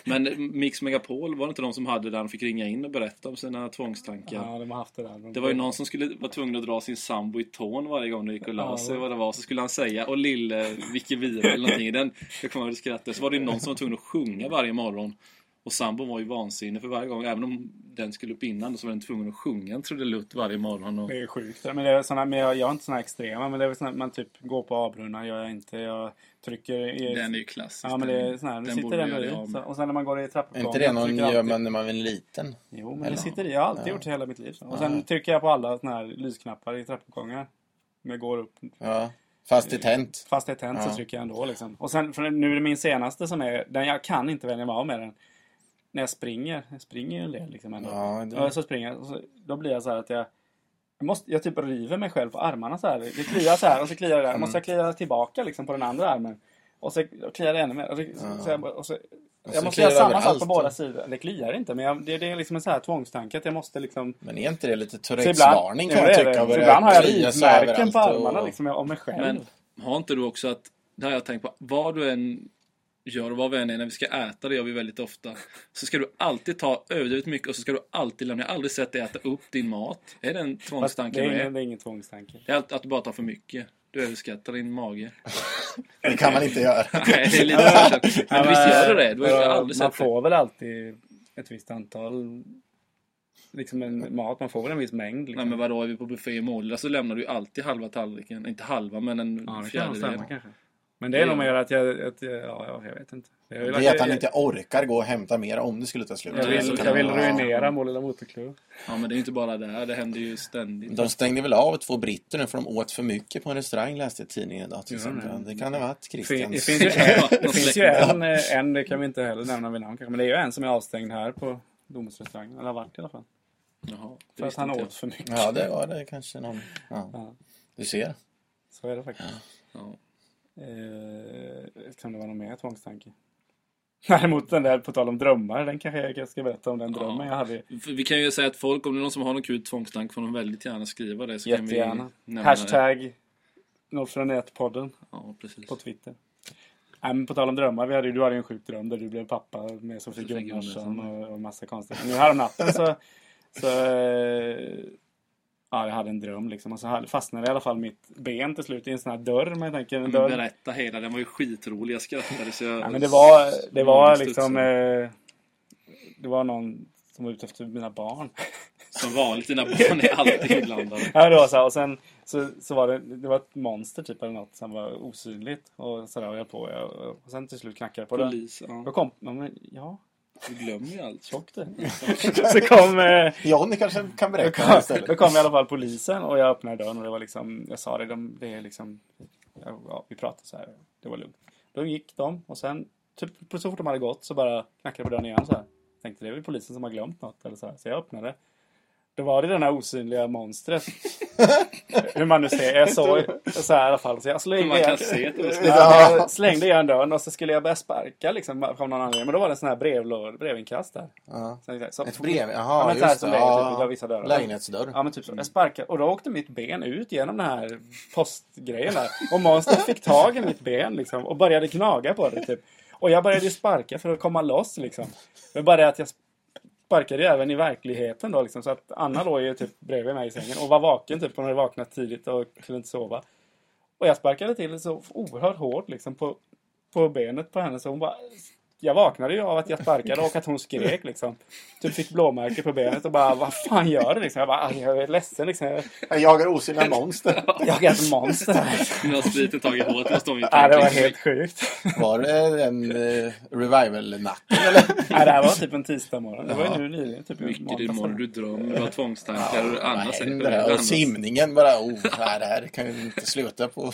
B: Men Mix Megapol var det inte de som hade där han fick ringa in och berätta om sina tvångstankar?
C: Ja, de har haft det där.
B: Det var ju någon som skulle vara tvungen att dra sin sambo i tån varje gång det gick och la
C: Ja.
B: sig vad det var. Så skulle han säga och lille Vicky Vira eller någonting i den. Jag kommer ihåg att skratta. Så var det ju någon som var tvungen att sjunga varje morgon. Och sambon var ju vansinnig för varje gång, även om den skulle upp innan, så var den tvungen att sjunga en trudelutt varje morgon. Och...
C: Det är sjukt. Men det är såna, men jag, jag har inte såna här extrema. Men det är väl såna, man typ går på avbrunnar, gör jag inte. Jag trycker i...
B: Den är ju klassisk.
C: ja, men det är sån här. Nu
B: den
C: sitter
B: borde
C: den
B: vi göra
C: där
B: det
C: i.
B: av
C: Så,
B: med.
C: och sen när man går i
D: Är
C: trappgången.
D: inte det någon
C: trycker jag
D: gör
C: alltid-
D: man när man är liten?
C: Jo, men
D: Eller-
C: det sitter i. Jag har alltid
D: Ja.
C: gjort det hela mitt liv. Så. Och sen trycker jag på alla såna här lysknappar i trappuppgångar. Om jag går upp.
D: Ja. Fast det är tänt.
C: Fast det är tänt
D: Ja.
C: så trycker jag ändå liksom. Och sen, för nu är det min senaste som är, den jag kan inte vänja mig av med den. När jag springer, jag springer ju en del liksom ändå.
D: Ja,
C: Och
D: det...
C: så springer jag, och så, då blir jag så här att jag jag måste, jag typ river mig själv på armarna så här. Det kliar så här och så kliar det där. Måste jag klia tillbaka liksom på den andra armen? Och så kliar det ännu mer. Och så, så jag, bara- och så,
D: Och så
C: jag måste
D: kliar
C: göra
D: det
C: samma sak
D: överallt
C: på
D: då.
C: båda sidor. Det kliar inte men jag, det, det är liksom en så här tvångstanke att jag måste liksom
D: Men är inte det lite
C: så ibland,
D: Tourettes-varning
C: Jo,
D: kan
C: det
D: jag
C: är
D: tycka?
C: det.
D: av
C: Så
D: det
C: ibland har jag
D: där klias
C: rivmärken på
D: överallt och-
C: armarna liksom, om mig själv.
B: Men har inte du också att, det har jag tänkt på, vad du än gör och vad vi än är när vi ska äta, det gör vi väldigt ofta, så ska du alltid ta överdrivet mycket och så ska du alltid lämna. Jag har aldrig sett dig äta upp din mat. Är det en
C: Fast det,
B: tvångstanke
C: är
B: med?
C: ingen, det är ingen tvångstanke.
B: Det är allt- att du bara tar för mycket. Du överskattar din mage.
D: Det kan man inte göra.
B: Nej, det är lite försök. Men visst gör du det? Du har ju aldrig
C: eh, Man
B: sett det.
C: får väl alltid ett visst antal liksom en mat. Man får väl en viss mängd.
B: Nej
C: Liksom.
B: men vadå, är vi på buffé i Målilla så lämnar du ju alltid halva tallriken. Inte halva, men en
C: ja, det kan nog
B: fjärdedel.
C: stämma kanske. Men det är nog mer att jag... Att jag ja, ja, jag vet inte. Jag vill,
D: Det är att han
C: jag-
D: inte orkar gå och hämta mer om det skulle ta slut.
C: jag, jag,
B: så
C: vill,
B: kan
C: jag vill
B: det
C: ruinera vår lilla motorklubb.
B: Ja, men det är ju inte bara där. Det händer ju ständigt.
D: De stängde väl av två britter nu för de åt för mycket på en restaurang läste jag i tidningen idag till
C: Gör de
D: exempel.
C: det?
D: Det kan ha varit
C: Fin- Det
D: Christians.
C: finns ju
B: Ja,
C: en,
B: någon
C: det finns ju
B: släkt.
C: en, eh, en, det kan vi inte heller nämna vid namn kanske, men det är ju en som är avstängd här på Domusrestaurangen, eller har varit i alla fall.
B: Jaha, det
C: För att
B: visste
C: han
B: inte jag.
C: åt för mycket.
D: Ja, det var det kanske någon. Ja.
C: Ja.
D: Du ser.
C: Så är det faktiskt.
B: Ja.
C: Eh, kan det vara någon mer tvångstanke? Däremot den där, på tal om drömmar, den kanske jag ska berätta om den drömmen jag hade.
B: För Vi kan ju säga att folk, om det är någon som har någon kul tvångstanke får de väldigt gärna skriva det. Så
C: Jättegärna.
B: Kan vi nämna Det.
C: Hashtag 041-podden
B: Ja, precis.
C: på Twitter. Nej, men på tal om drömmar, vi hade, ju- du hade ju en sjuk dröm där du blev pappa med Sofie
B: Sofie
C: Gunnarsson
B: Gunnarsson.
C: och, och massa konstiga... Nu häromnatten så... så eh, ja, jag hade en dröm liksom och så hade- fastnade i alla fall mitt ben till slut i en sån här dörr. Men jag tänker, en
B: Men
C: dörr
B: Mm, berätta hela, den var ju skitrolig. Jag skrattade så jag... Mm,
C: Ja, men det var, det var
B: Många
C: liksom...
B: studsar.
C: Eh, det var någon som var ute efter mina barn.
B: Som vanligt, dina barn är alltid inblandade.
C: ja, det var så här, och sen så, så var det, det var ett monster typ eller något som var osynligt. Och sådär höll jag på. Och, och sen till slut knackade jag på dörren.
B: Polis, ja.
C: Då kom... Ja, men, ja
B: Du glömmer ju allt.
C: tjockt det. så kom... Eh,
D: Johnny kanske kan
C: då
D: berätta det
C: kom,
D: istället.
C: då kom i alla fall polisen och jag öppnade dörren och det var liksom... Jag sa det, de, det är liksom... Ja, ja, vi pratade så här. Det var lugnt. Då gick de och sen... Typ, på- så fort de hade gått så bara knackade jag på dörren igen så här. Tänkte det är väl polisen som har glömt något eller så här. Så jag öppnade. Då var det den här osynliga monstret. Hur man nu ser. Jag såg så här i alla fall. Så jag slog
B: Man kan
C: igen-
B: se att det var
C: Ja, jag slängde igen dörren och så skulle jag börja sparka liksom av någon anledning. Men då var det en sån här brevlåd, brevinkast där.
D: Ja.
C: Så, jag tänkte, så,
D: Ett brev,
C: Ja,
D: jaha
C: men så här
D: just
C: som
D: det.
C: det är, typ, vi har
D: Ja.
C: vissa dörrar.
D: Lägenhetsdörr. Mm.
C: Ja men typ så. Jag sparkade och då åkte mitt ben ut genom den här postgrejen där. Och monstret fick tag i mitt ben liksom och började gnaga på det typ. Och jag började ju sparka för att komma loss liksom. Men bara det att jag sparkade ju även i verkligheten då liksom. Så att Anna låg ju typ bredvid mig i sängen och var vaken typ. Hon hade vaknat tidigt och kunde inte sova. Och jag sparkade till så oerhört hårt liksom på, på benet på henne så hon bara jag vaknade ju av att jag sparkade och att hon skrek liksom. Typ fick blåmärke på benet och bara vad fan gör du liksom? Jag bara "Aj, jag är ledsen liksom. Jag
F: Jag jagar osynliga monster.
C: jag är ett monster. här."
B: Nu har spriten tagit hårt hos dem.
C: Nej, det var helt sjukt.
D: Var det en eh, revival-natten eller?
C: Nej, det här var typ en tisdag morgon. Det var ju nu nyligen. Typ i
B: Mycket
C: måndags.
B: du mår, du drömmer, du har tvångstankar och
D: Vad
B: annars
D: händer här? Och simningen bara, oh, nej, det här kan ju inte sluta på.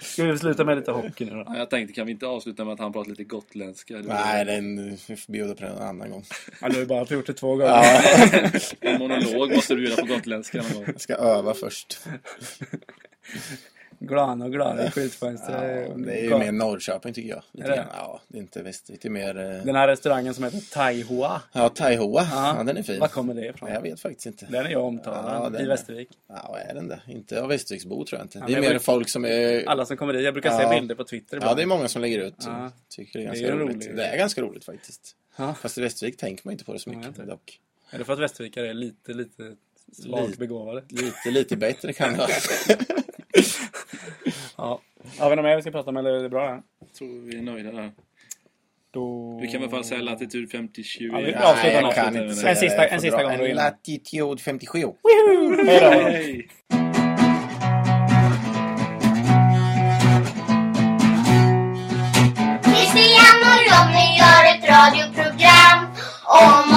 C: Ska vi sluta med lite hockey nu då?
B: Ja, Jag tänkte, kan vi inte avsluta med att han pratar lite gotländska? Det
D: Nej, den, vi får bjuda på den en annan gång.
C: Ja, nu har vi bara gjort det två gånger.
D: Ja,
B: En monolog måste du göra på gotländska någon gång.
D: jag ska öva först.
C: Glana och glana i skyltfönstret.
D: Ja, det är ju
C: Gott.
D: mer Norrköping tycker jag. Lite
C: Är det?
D: grann. Ja, det är inte väst. Lite mer... eh,
C: Den här restaurangen som heter Taihua.
D: Ja, Taihoa. Ja, den är fin.
C: Var kommer det ifrån?
D: Ja, Jag vet faktiskt inte.
C: Den är jag
D: Ja,
C: omtalad
D: den
C: i
D: är-
C: Västervik.
D: Ja, är den det? Inte av Västerviksbo tror jag inte. det
C: men
D: är
C: jag
D: mer
C: bruk-
D: folk som är...
C: Alla som kommer dit. Jag brukar se
D: Ja.
C: bilder på Twitter
D: Ja,
C: ibland.
D: det är många som lägger ut.
C: Ja.
D: Tycker det är
C: Det
D: ganska
C: är ju
D: roligt.
C: roligt.
D: Det är ganska roligt faktiskt.
C: Ja.
D: Fast i Västervik tänker man inte på det så
C: Nej,
D: mycket
C: inte.
D: dock.
C: Är det för att västervikare är lite, lite svagt
D: Lite.
C: begåvade?
D: Lite, lite bättre kan det vara.
C: Ja. Har vi något mer vi ska prata om eller är det bra? här?
B: Tror vi är nöjda där.
C: Då...
B: Vi kan i alla fall säga latitud 50 20.
C: Ja, vi
B: Ja,
C: avslutar
D: Nej, jag
C: något.
D: kan inte säga
C: En
D: det.
C: sista-
D: Jag får
C: en sista
D: dra
C: gång då
D: En
C: innan.
D: latitud 57.
C: Hej då.
B: Hej!
A: Christian och Ronny gör ett radioprogram om